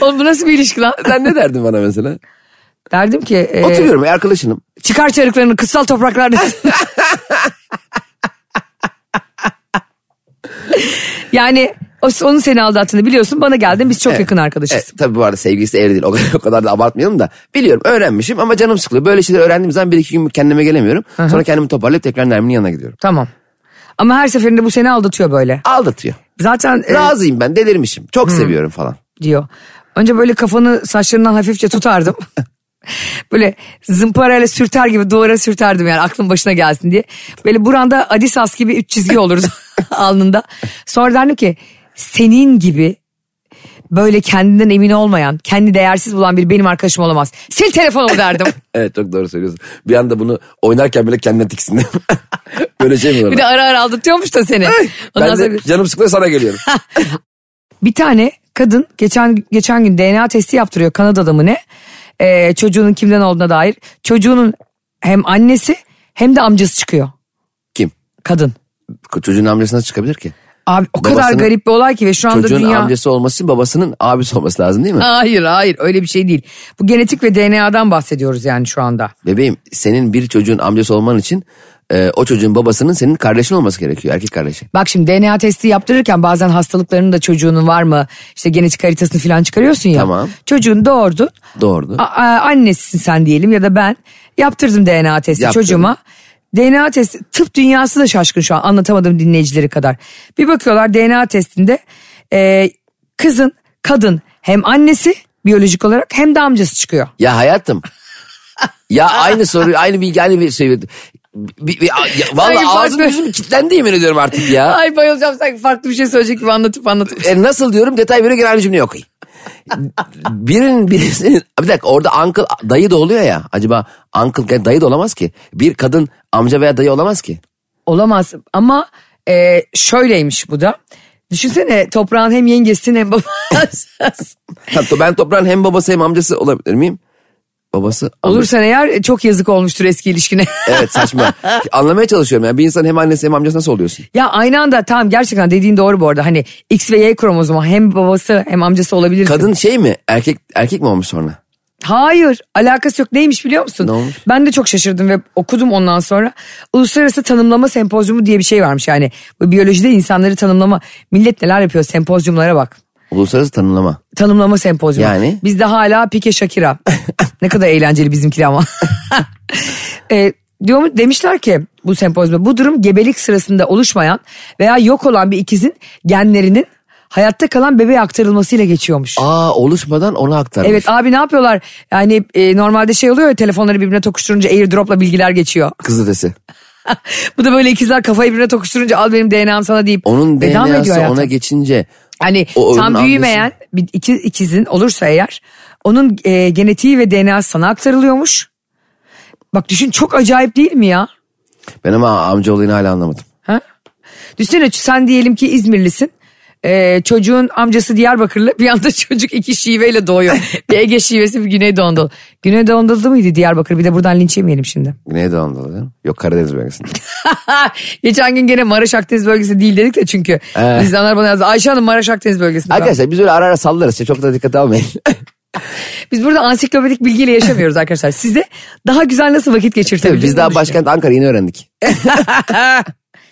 Speaker 2: Oğlum bu nasıl bir ilişki lan?
Speaker 3: Sen ne derdin bana mesela?
Speaker 2: Derdim ki e,
Speaker 3: Oturuyorum e, arkadaşınım.
Speaker 2: çıkar çarıklarını kıtsal topraklarda. [LAUGHS] yani o, onun seni aldattığını biliyorsun bana geldin biz çok yakın
Speaker 3: E,
Speaker 2: arkadaşız.
Speaker 3: tabii bu arada sevgilisi de evli değil. O kadar, o kadar da abartmayalım da. Biliyorum öğrenmişim ama canım sıkılıyor. Böyle şeyler öğrendiğim zaman bir iki gün kendime gelemiyorum. Sonra kendimi toparlayıp tekrar Nermin'in yanına gidiyorum.
Speaker 2: Tamam. Ama her seferinde bu seni aldatıyor böyle.
Speaker 3: Aldatıyor.
Speaker 2: Zaten e,
Speaker 3: Razıyım ben delirmişim. Çok seviyorum falan.
Speaker 2: diyor. Önce böyle kafanı saçlarından hafifçe
Speaker 3: [LAUGHS]
Speaker 2: tutardım. böyle zımparayla sürter gibi duvara sürterdim yani aklın başına gelsin diye. Böyle buranda Adisas gibi üç çizgi olurdu [LAUGHS] alnında. Sonra derdim ki senin gibi böyle kendinden emin olmayan, kendi değersiz bulan biri benim arkadaşım olamaz. Sil telefonumu
Speaker 3: [LAUGHS]
Speaker 2: derdim.
Speaker 3: Evet çok doğru söylüyorsun. Bir anda bunu oynarken bile kendine tiksindim. [LAUGHS] Böyle şey mi olur?
Speaker 2: bir de ara ara aldatıyormuş da seni. Ondan
Speaker 3: Ben
Speaker 2: sonra
Speaker 3: de
Speaker 2: bir-
Speaker 3: canım sıkılıyor sana geliyorum.
Speaker 2: Bir tane kadın geçen geçen gün DNA testi yaptırıyor Kanada'da mı ne? Ee, çocuğunun kimden olduğuna dair. Çocuğunun hem annesi hem de amcası çıkıyor.
Speaker 3: [LAUGHS] Kim?
Speaker 2: Kadın.
Speaker 3: Çocuğun amcası nasıl çıkabilir ki?
Speaker 2: Abi o kadar
Speaker 3: Babasının-
Speaker 2: garip bir olay ki ve şu anda
Speaker 3: Çocuğun
Speaker 2: dünya...
Speaker 3: amcası olması için babasının abisi olması lazım değil mi?
Speaker 2: Hayır hayır öyle bir şey değil. Bu genetik ve DNA'dan bahsediyoruz yani şu anda.
Speaker 3: Bebeğim senin bir çocuğun amcası olman için e, o çocuğun babasının senin kardeşin olması gerekiyor. Erkek kardeşi.
Speaker 2: Bak şimdi DNA testi yaptırırken bazen hastalıklarının da çocuğunun var mı işte genetik haritasını falan çıkarıyorsun ya.
Speaker 3: Tamam.
Speaker 2: Çocuğun doğurdu.
Speaker 3: Doğurdu.
Speaker 2: A- a- annesisin sen diyelim ya da ben yaptırdım DNA testi
Speaker 3: Yaptırdım.
Speaker 2: çocuğuma. DNA testi tıp dünyası da şaşkın şu an anlatamadım dinleyicileri kadar. Bir bakıyorlar DNA testinde e, kızın kadın hem annesi biyolojik olarak hem de amcası çıkıyor. [LAUGHS]
Speaker 3: Ya hayatım. ya aynı soru, aynı bilgi, aynı bir şey. Bir, bir, ya,
Speaker 2: Ay,
Speaker 3: vallahi
Speaker 2: farklı.
Speaker 3: ağzım yüzüm kilitlendi yemin ediyorum artık ya.
Speaker 2: Ay bayılacağım sanki farklı bir şey söyleyecek gibi anlatıp anlatıp.
Speaker 3: E, nasıl diyorum detay verirken aynı cümle yok. Birinin birisinin bir dakika orada uncle dayı da oluyor ya acaba uncle yani dayı da olamaz ki. Bir kadın amca veya dayı olamaz ki.
Speaker 2: Olamaz ama e, şöyleymiş bu da. Düşünsene toprağın hem yengesinin [LAUGHS] hem babası.
Speaker 3: Hatta ben toprağın hem babası hem amcası olabilir miyim? Babası amca-
Speaker 2: Olursan eğer e, çok yazık olmuştur eski ilişkine.
Speaker 3: Evet
Speaker 2: [LAUGHS]
Speaker 3: saçma. Anlamaya çalışıyorum yani bir insan hem annesi hem amcası nasıl oluyorsun?
Speaker 2: ya aynı anda tamam gerçekten dediğin doğru bu arada. Hani X ve Y kromozomu hem babası hem amcası olabilir.
Speaker 3: Kadın şey mi erkek erkek mi olmuş sonra?
Speaker 2: Hayır alakası yok neymiş biliyor musun?
Speaker 3: Ne olmuş?
Speaker 2: Ben de çok şaşırdım ve okudum ondan sonra. Uluslararası Tanımlama Sempozyumu diye bir şey varmış yani. Bu biyolojide insanları tanımlama. Millet neler yapıyor sempozyumlara bak.
Speaker 3: Uluslararası tanımlama.
Speaker 2: tanımlama sempozyumu.
Speaker 3: Yani?
Speaker 2: Bizde hala Pike Shakira. ne kadar eğlenceli bizimkiler ama. [LAUGHS] e, diyor mu- demişler ki bu sempozyumda bu durum gebelik sırasında oluşmayan veya yok olan bir ikizin genlerinin hayatta kalan bebeğe aktarılmasıyla geçiyormuş.
Speaker 3: Aa oluşmadan onu aktarmış.
Speaker 2: Evet abi ne yapıyorlar? Yani e, normalde şey oluyor ya telefonları birbirine tokuşturunca airdropla bilgiler geçiyor. [LAUGHS]
Speaker 3: Kız ötesi.
Speaker 2: bu da böyle ikizler kafayı birbirine tokuşturunca al benim DNA'm sana deyip
Speaker 3: Onun
Speaker 2: veda mı E, ediyor
Speaker 3: DNA'sı
Speaker 2: hayata?
Speaker 3: ona geçince
Speaker 2: Hani
Speaker 3: O oyunun
Speaker 2: tam büyümeyen bir iki, ikizin olursa eğer onun e, genetiği ve DNA sana aktarılıyormuş. Bak düşün çok acayip değil mi ya?
Speaker 3: ben ama amca olayını hala anlamadım.
Speaker 2: Ha? Düşünsene sen diyelim ki İzmirlisin. E, çocuğun amcası Diyarbakırlı bir anda [LAUGHS] çocuk iki şiveyle doğuyor. bir Ege şivesi bir Güneydoğu Anadolu. Güneydoğu Anadolu mıydı Diyarbakır? Bir de buradan linç yemeyelim şimdi. [LAUGHS]
Speaker 3: Güneydoğu Anadolu değil mi? Yok Karadeniz bölgesinde.
Speaker 2: Geçen gün gene Maraş Akdeniz bölgesi değil dedik de çünkü.
Speaker 3: Ee.
Speaker 2: İnsanlar bana yazdı. Ayşe Hanım Maraş Akdeniz bölgesinde.
Speaker 3: Arkadaşlar biz öyle ara ara sallarız. Şimdi Çok da dikkat
Speaker 2: [LAUGHS]
Speaker 3: almayın.
Speaker 2: Biz burada ansiklopedik bilgiyle yaşamıyoruz
Speaker 3: [LAUGHS]
Speaker 2: arkadaşlar. Size daha güzel nasıl vakit geçirtebiliriz?
Speaker 3: biz
Speaker 2: bunu
Speaker 3: daha
Speaker 2: düşünüyorum.
Speaker 3: başkent Ankara yeni öğrendik.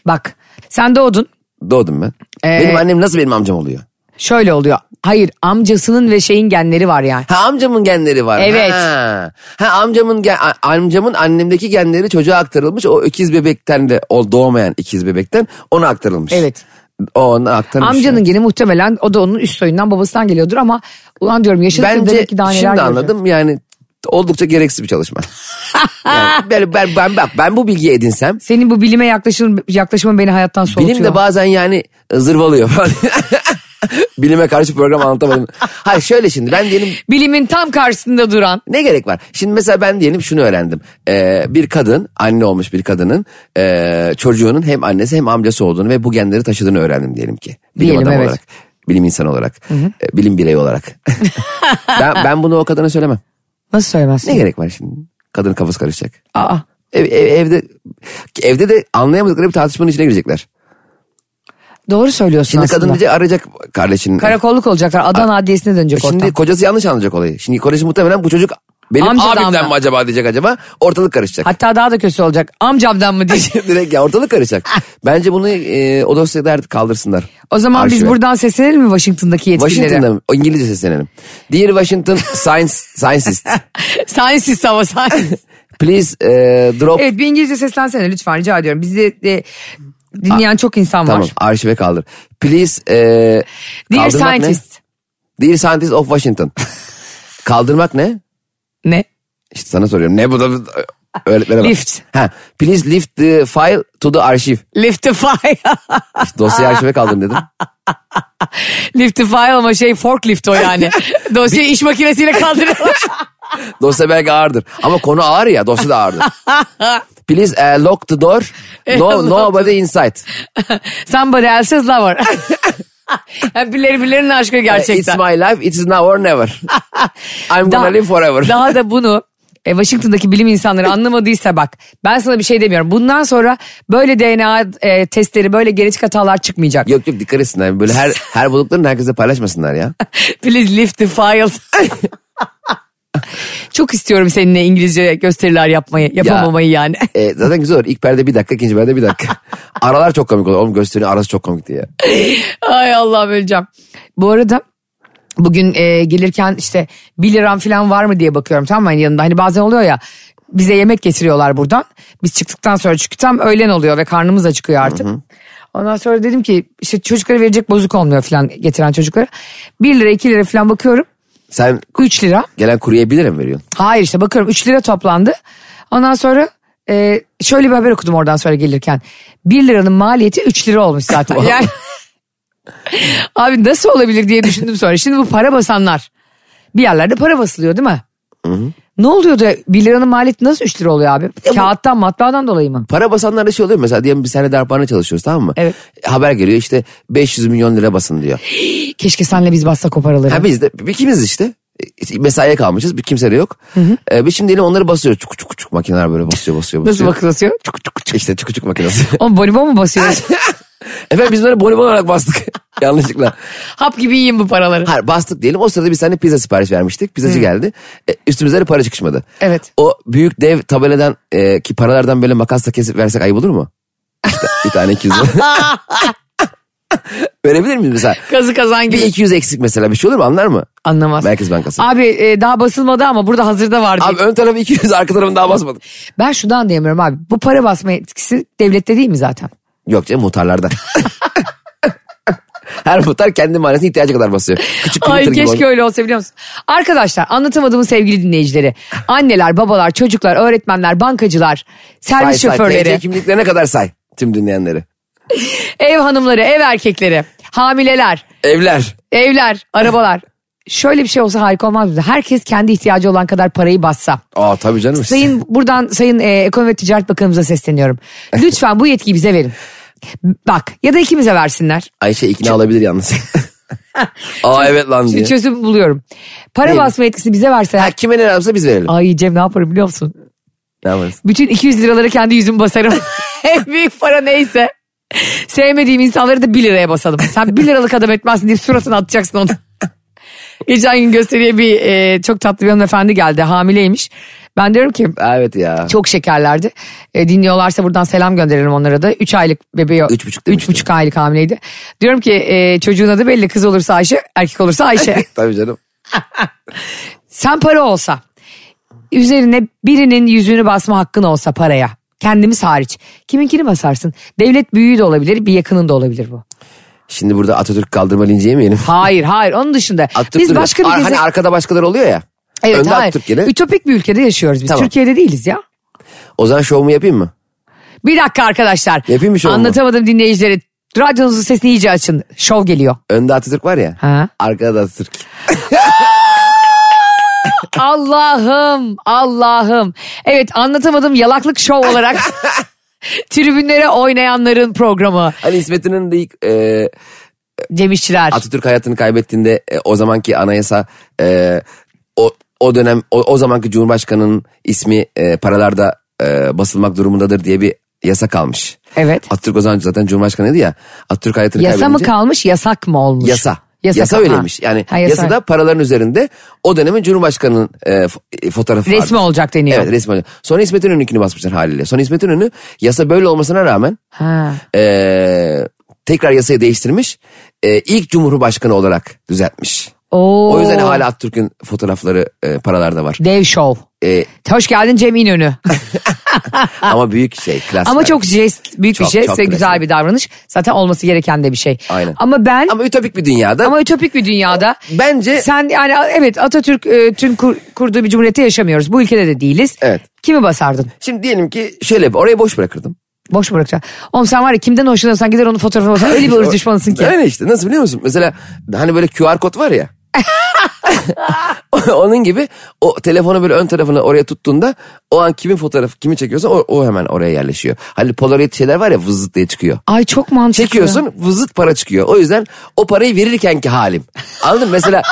Speaker 2: Bak sen doğdun.
Speaker 3: Doğdum ben.
Speaker 2: Ee,
Speaker 3: benim annem nasıl benim amcam oluyor?
Speaker 2: Şöyle oluyor. Hayır amcasının ve şeyin genleri var yani.
Speaker 3: Ha amcamın genleri var.
Speaker 2: Evet.
Speaker 3: Ha, ha amcamın gen- a- amcamın annemdeki genleri çocuğa aktarılmış. O ikiz bebekten de o doğmayan ikiz bebekten ona aktarılmış.
Speaker 2: Evet.
Speaker 3: O ona aktarılmış.
Speaker 2: Amcanın
Speaker 3: yani.
Speaker 2: geni muhtemelen o da onun üst soyundan babasından geliyordur ama ulan diyorum yaşadık
Speaker 3: Bence
Speaker 2: demek ki daha neler
Speaker 3: şimdi
Speaker 2: göreceğiz.
Speaker 3: anladım yani oldukça gereksiz
Speaker 2: [LAUGHS]
Speaker 3: bir çalışma. yani ben, ben, ben, bak ben bu bilgiyi edinsem
Speaker 2: Senin bu bilime yaklaşım, yaklaşımın beni hayattan soğutuyor.
Speaker 3: bilim de bazen yani e, zırvalıyor falan. [LAUGHS] Bilime karşı program anlatamadım. Hayır şöyle şimdi ben diyelim
Speaker 2: Bilimin tam karşısında duran.
Speaker 3: Ne gerek var? Şimdi mesela ben diyelim şunu öğrendim. Ee, bir kadın, anne olmuş bir kadının ee, çocuğunun hem annesi hem amcası olduğunu ve bu genleri taşıdığını öğrendim diyelim ki. Bilim
Speaker 2: Diyelim,
Speaker 3: adamı
Speaker 2: evet.
Speaker 3: olarak, bilim insanı olarak, e, bilim
Speaker 2: [LAUGHS]
Speaker 3: bireyi olarak. ben, ben bunu o kadına söylemem.
Speaker 2: Nasıl söylemezsin?
Speaker 3: Ne gerek var şimdi? Kadının kafası karışacak.
Speaker 2: Aa,
Speaker 3: Ev, ev- evde evde de anlayamadıkları bir tartışmanın içine girecekler.
Speaker 2: doğru söylüyorsun
Speaker 3: Şimdi
Speaker 2: aslında.
Speaker 3: kadın diyecek arayacak kardeşinin.
Speaker 2: Karakolluk olacaklar. Adana Adliyesi'ne dönecek
Speaker 3: Şimdi
Speaker 2: ortam.
Speaker 3: kocası yanlış anlayacak olayı. Şimdi kocası muhtemelen bu çocuk benim
Speaker 2: Amcadan
Speaker 3: abimden
Speaker 2: mı?
Speaker 3: mi acaba diyecek acaba. Ortalık karışacak. [LAUGHS]
Speaker 2: Hatta daha da kötü olacak. Amcamdan mı diyecek?
Speaker 3: Direkt ya ortalık karışacak. Bence bunu e, o dosyada artık kaldırsınlar.
Speaker 2: O zaman biz
Speaker 3: Arşive.
Speaker 2: buradan seslenelim mi Washington'daki yetkililere?
Speaker 3: Washington'da mı? O İngilizce seslenelim.
Speaker 2: [LAUGHS]
Speaker 3: Dear Washington science, scientist,
Speaker 2: Scientist ama
Speaker 3: [LAUGHS]
Speaker 2: scientist.
Speaker 3: please e, drop...
Speaker 2: evet bir İngilizce seslensene lütfen rica ediyorum. Bizi de dinleyen çok insan
Speaker 3: Ah, Tamam
Speaker 2: var.
Speaker 3: arşive kaldır. Please... E,
Speaker 2: Dear
Speaker 3: kaldırmak ne?
Speaker 2: scientist.
Speaker 3: Dear scientist of Washington. kaldırmak ne?
Speaker 2: Ne?
Speaker 3: İşte sana soruyorum. Ne bu da... Öğretmene bak.
Speaker 2: Lift.
Speaker 3: Ha, please lift the file to the archive.
Speaker 2: Lift the file.
Speaker 3: İşte dosyayı arşive kaldım dedim.
Speaker 2: [LAUGHS] lift the file ama şey forklift o
Speaker 3: [LAUGHS]
Speaker 2: yani. Dosyayı iş makinesiyle kaldırıyorlar.
Speaker 3: Dosya belki ağırdır. Ama konu ağır ya dosya da ağırdır. Please eh, lock the door.
Speaker 2: [LAUGHS]
Speaker 3: No, nobody inside. Uh,
Speaker 2: Somebody else's [LAUGHS] lover. Yani birileri birilerinin aşkı gerçekten. [LAUGHS]
Speaker 3: It's my life, it is now or never. I'm gonna live forever.
Speaker 2: daha da bunu e, Washington'daki bilim insanları anlamadıysa bak ben sana bir şey demiyorum. Bundan sonra böyle DNA e, testleri böyle genetik hatalar çıkmayacak.
Speaker 3: Yok yok dikkat etsinler. Böyle her her bulduklarını herkese paylaşmasınlar ya.
Speaker 2: Please lift the file. Çok istiyorum seninle İngilizce gösteriler yapmayı, yapamamayı yani.
Speaker 3: E, zaten güzel olur. İlk perde bir dakika, ikinci perde
Speaker 2: [LAUGHS]
Speaker 3: bir dakika. Aralar çok komik olur. Oğlum gösterinin arası çok komikti ya.
Speaker 2: Ay Allah'ım öleceğim. Bu arada bugün e, gelirken işte 1 liram falan var mı diye bakıyorum tamam mı Hani yanında. Hani bazen oluyor ya bize yemek getiriyorlar buradan. Biz çıktıktan sonra çünkü tam öğlen oluyor ve karnımız acıkıyor artık. Ondan sonra dedim ki işte çocuklara verecek bozuk olmuyor falan getiren çocuklara. 1 lira 2 lira falan bakıyorum.
Speaker 3: Sen
Speaker 2: 3 lira.
Speaker 3: gelen kuruya 1 lira mı veriyorsun?
Speaker 2: Hayır işte bakıyorum 3 lira toplandı. Ondan sonra e, şöyle bir haber okudum oradan sonra gelirken. 1 liranın maliyeti 3 lira olmuş
Speaker 3: [LAUGHS]
Speaker 2: zaten. yani [LAUGHS] Abi nasıl olabilir diye düşündüm sonra. Şimdi bu para basanlar. Bir yerlerde para basılıyor değil mi? Ne oluyor da 1 liranın maliyeti nasıl 3 lira oluyor abi? Kağıttan matbaadan dolayı mı?
Speaker 3: Para basanlarda şey oluyor mu? mesela diyelim biz seninle darphane çalışıyoruz tamam mı?
Speaker 2: Evet.
Speaker 3: Haber geliyor işte 500 milyon lira basın diyor.
Speaker 2: Keşke senle biz bassak o paraları.
Speaker 3: Ha biz de ikimiz işte. E, Mesaiye kalmışız bir kimse de yok. E, biz şimdi diyelim onları basıyoruz. Çuk çuk çuk makineler böyle basıyor basıyor
Speaker 2: nasıl
Speaker 3: basıyor.
Speaker 2: bakılıyor?
Speaker 3: İşte çuk çuk makinesi. [LAUGHS]
Speaker 2: Oğlum bonibon mu basıyoruz? [LAUGHS]
Speaker 3: Efendim biz böyle bonibon olarak bastık. [LAUGHS] Yanlışlıkla.
Speaker 2: Hap gibi yiyin bu paraları.
Speaker 3: Hayır bastık diyelim. O sırada biz seninle pizza sipariş vermiştik. Pizzacı geldi. E, üstümüzde de para çıkışmadı.
Speaker 2: Evet.
Speaker 3: O büyük dev tabeladan e, ki paralardan böyle makasla kesip versek ayıp olur mu? İşte bir tane 200
Speaker 2: [LAUGHS]
Speaker 3: Verebilir miyiz mesela?
Speaker 2: Kazı kazan
Speaker 3: Bir
Speaker 2: gibi.
Speaker 3: 200 eksik mesela bir şey olur mu anlar mı?
Speaker 2: Anlamaz.
Speaker 3: Merkez Bankası.
Speaker 2: Abi e, daha basılmadı ama burada hazırda var diye.
Speaker 3: Abi ön tarafı 200 arka tarafını daha basmadık.
Speaker 2: Ben şundan anlayamıyorum abi. Bu para basma etkisi devlette değil mi zaten?
Speaker 3: Yok
Speaker 2: [LAUGHS]
Speaker 3: canım muhtarlarda. Her muhtar kendi mahallesine ihtiyacı kadar basıyor. Küçük bir
Speaker 2: Ay
Speaker 3: muhtar gibi
Speaker 2: keşke
Speaker 3: oldu.
Speaker 2: öyle olsa biliyor musun? Arkadaşlar anlatamadığımız sevgili dinleyicileri. Anneler, babalar, çocuklar, öğretmenler, bankacılar,
Speaker 3: Say
Speaker 2: servis
Speaker 3: say
Speaker 2: şoförleri,
Speaker 3: TC kimliklerine kadar say tüm dinleyenleri.
Speaker 2: ev hanımları, ev erkekleri, hamileler,
Speaker 3: Evler.
Speaker 2: evler, arabalar. Şöyle bir şey olsa harika olmaz mıydı? Herkes kendi ihtiyacı olan kadar parayı bassa.
Speaker 3: Aa tabii canım.
Speaker 2: Sayın buradan Sayın e, Ekonomi ve Ticaret Bakanımıza
Speaker 3: [LAUGHS]
Speaker 2: sesleniyorum. Lütfen bu yetkiyi bize verin. Bak ya da ikimize versinler.
Speaker 3: Ayşe ikna
Speaker 2: [LAUGHS]
Speaker 3: olabilir yalnız. Aa evet lan diye.
Speaker 2: Bir çözüm buluyorum. Para
Speaker 3: Neymiş?
Speaker 2: basma etkisini bize
Speaker 3: Ha,
Speaker 2: verseler.
Speaker 3: kime ne yapsa biz verelim.
Speaker 2: Ay Cem ne yaparım biliyor musun?
Speaker 3: Ne yaparız?
Speaker 2: Bütün 200 liraları kendi yüzüm basarım. [LAUGHS] en büyük para neyse. Sevmediğim insanları da 1 liraya basalım. Sen 1 liralık adam etmezsin diye suratını atacaksın onu. [LAUGHS] Geçen gün gösteriye bir e, çok tatlı bir hanımefendi geldi. Hamileymiş. Ben diyorum ki
Speaker 3: Evet ya.
Speaker 2: çok şekerlerdi. E, dinliyorlarsa buradan selam gönderelim onlara da. 3 aylık bebeği.
Speaker 3: Üç buçuk
Speaker 2: üç
Speaker 3: demiştim.
Speaker 2: buçuk aylık hamileydi. Diyorum ki e, çocuğun adı belli. Kız olursa Ayşe, erkek olursa
Speaker 3: [LAUGHS]
Speaker 2: Ayşe.
Speaker 3: [LAUGHS] Tabii canım.
Speaker 2: Sen para olsa üzerine birinin yüzünü basma hakkın olsa paraya. Kendimiz hariç. Kiminkini basarsın? Devlet büyüğü de olabilir, bir yakının da olabilir bu.
Speaker 3: Şimdi burada Atatürk kaldırma linci yemeyelim.
Speaker 2: Hayır, hayır. Onun dışında
Speaker 3: Atatürk
Speaker 2: biz
Speaker 3: duruyor.
Speaker 2: başka bir
Speaker 3: Ar-
Speaker 2: geze-
Speaker 3: Hani arkada başkaları oluyor ya.
Speaker 2: Evet,
Speaker 3: Önde
Speaker 2: hayır.
Speaker 3: Atatürk gene.
Speaker 2: Ütopik bir ülkede yaşıyoruz biz.
Speaker 3: Tamam.
Speaker 2: Türkiye'de değiliz ya.
Speaker 3: O zaman şovumu yapayım mı?
Speaker 2: Bir dakika arkadaşlar.
Speaker 3: Yapayım şey mı şovumu?
Speaker 2: Anlatamadım dinleyicilere. Radyonuzun sesini iyice açın. Şov geliyor.
Speaker 3: Önde Atatürk var ya.
Speaker 2: Ha.
Speaker 3: Arkada da Atatürk.
Speaker 2: Allah'ım, Allah'ım. Evet anlatamadım yalaklık şov
Speaker 3: [LAUGHS]
Speaker 2: olarak. Tribünlere oynayanların programı.
Speaker 3: Hani İsmet'in de ilk e,
Speaker 2: Cem İşçiler.
Speaker 3: Atatürk hayatını kaybettiğinde e, o zamanki anayasa e, o, o dönem o, o zamanki Cumhurbaşkanı'nın ismi e, paralarda e, basılmak durumundadır diye bir yasa kalmış.
Speaker 2: Evet.
Speaker 3: Atatürk o zaman zaten Cumhurbaşkanıydı ya. Atatürk hayatını
Speaker 2: Yasa mı
Speaker 3: kaybedince-
Speaker 2: kalmış yasak mı olmuş?
Speaker 3: Yasa. Yasa,
Speaker 2: ha.
Speaker 3: öyleymiş. Yani
Speaker 2: Ha, yasa.
Speaker 3: yasada paraların üzerinde o dönemin Cumhurbaşkanı'nın e, fo- e, fotoğrafı vardı.
Speaker 2: Resmi olacak deniyor.
Speaker 3: Evet resmi olacak. Sonra İsmet İnönü'nkini basmışlar haliyle. Sonra İsmet İnönü yasa böyle olmasına rağmen
Speaker 2: Ha.
Speaker 3: e, tekrar yasayı değiştirmiş. E, ilk Cumhurbaşkanı olarak düzeltmiş.
Speaker 2: Oo.
Speaker 3: O yüzden hala Atatürk'ün fotoğrafları e, paralarda var.
Speaker 2: Dev şov.
Speaker 3: E,
Speaker 2: Hoş geldin Cem
Speaker 3: [LAUGHS]
Speaker 2: İnönü.
Speaker 3: ama büyük şey klasik.
Speaker 2: Ama çok jest, büyük
Speaker 3: Çok,
Speaker 2: bir jest
Speaker 3: çok
Speaker 2: ve güzel
Speaker 3: klasik.
Speaker 2: bir davranış. Zaten olması gereken de bir şey.
Speaker 3: Aynen.
Speaker 2: Ama ben ama,
Speaker 3: Ama ütopik bir dünyada.
Speaker 2: ütopik bir dünyada
Speaker 3: Bence
Speaker 2: sen yani evet Atatürk e, tüm kur- kurduğu bir cumhuriyette yaşamıyoruz. Bu ülkede de değiliz.
Speaker 3: Evet.
Speaker 2: Kimi basardın?
Speaker 3: şimdi diyelim ki şöyle orayı boş bırakırdım.
Speaker 2: Boş bırakacağım. Oğlum sen var ya kimden hoşlanıyorsan gider onun fotoğrafına basar.
Speaker 3: [LAUGHS]
Speaker 2: Öyle bir ırz düşmanısın ki.
Speaker 3: Öyle işte nasıl biliyor musun? Mesela hani böyle QR kod
Speaker 2: [LAUGHS]
Speaker 3: var ya. Onun gibi o telefonu böyle ön tarafına oraya tuttuğunda o an kimin fotoğrafı kimi çekiyorsa o, o hemen oraya yerleşiyor. Hani polaroid şeyler var ya vızıt diye çıkıyor.
Speaker 2: Ay çok mantıklı.
Speaker 3: Çekiyorsun vızıt para çıkıyor. O yüzden o parayı verirkenki halim. Anladın mı? Mesela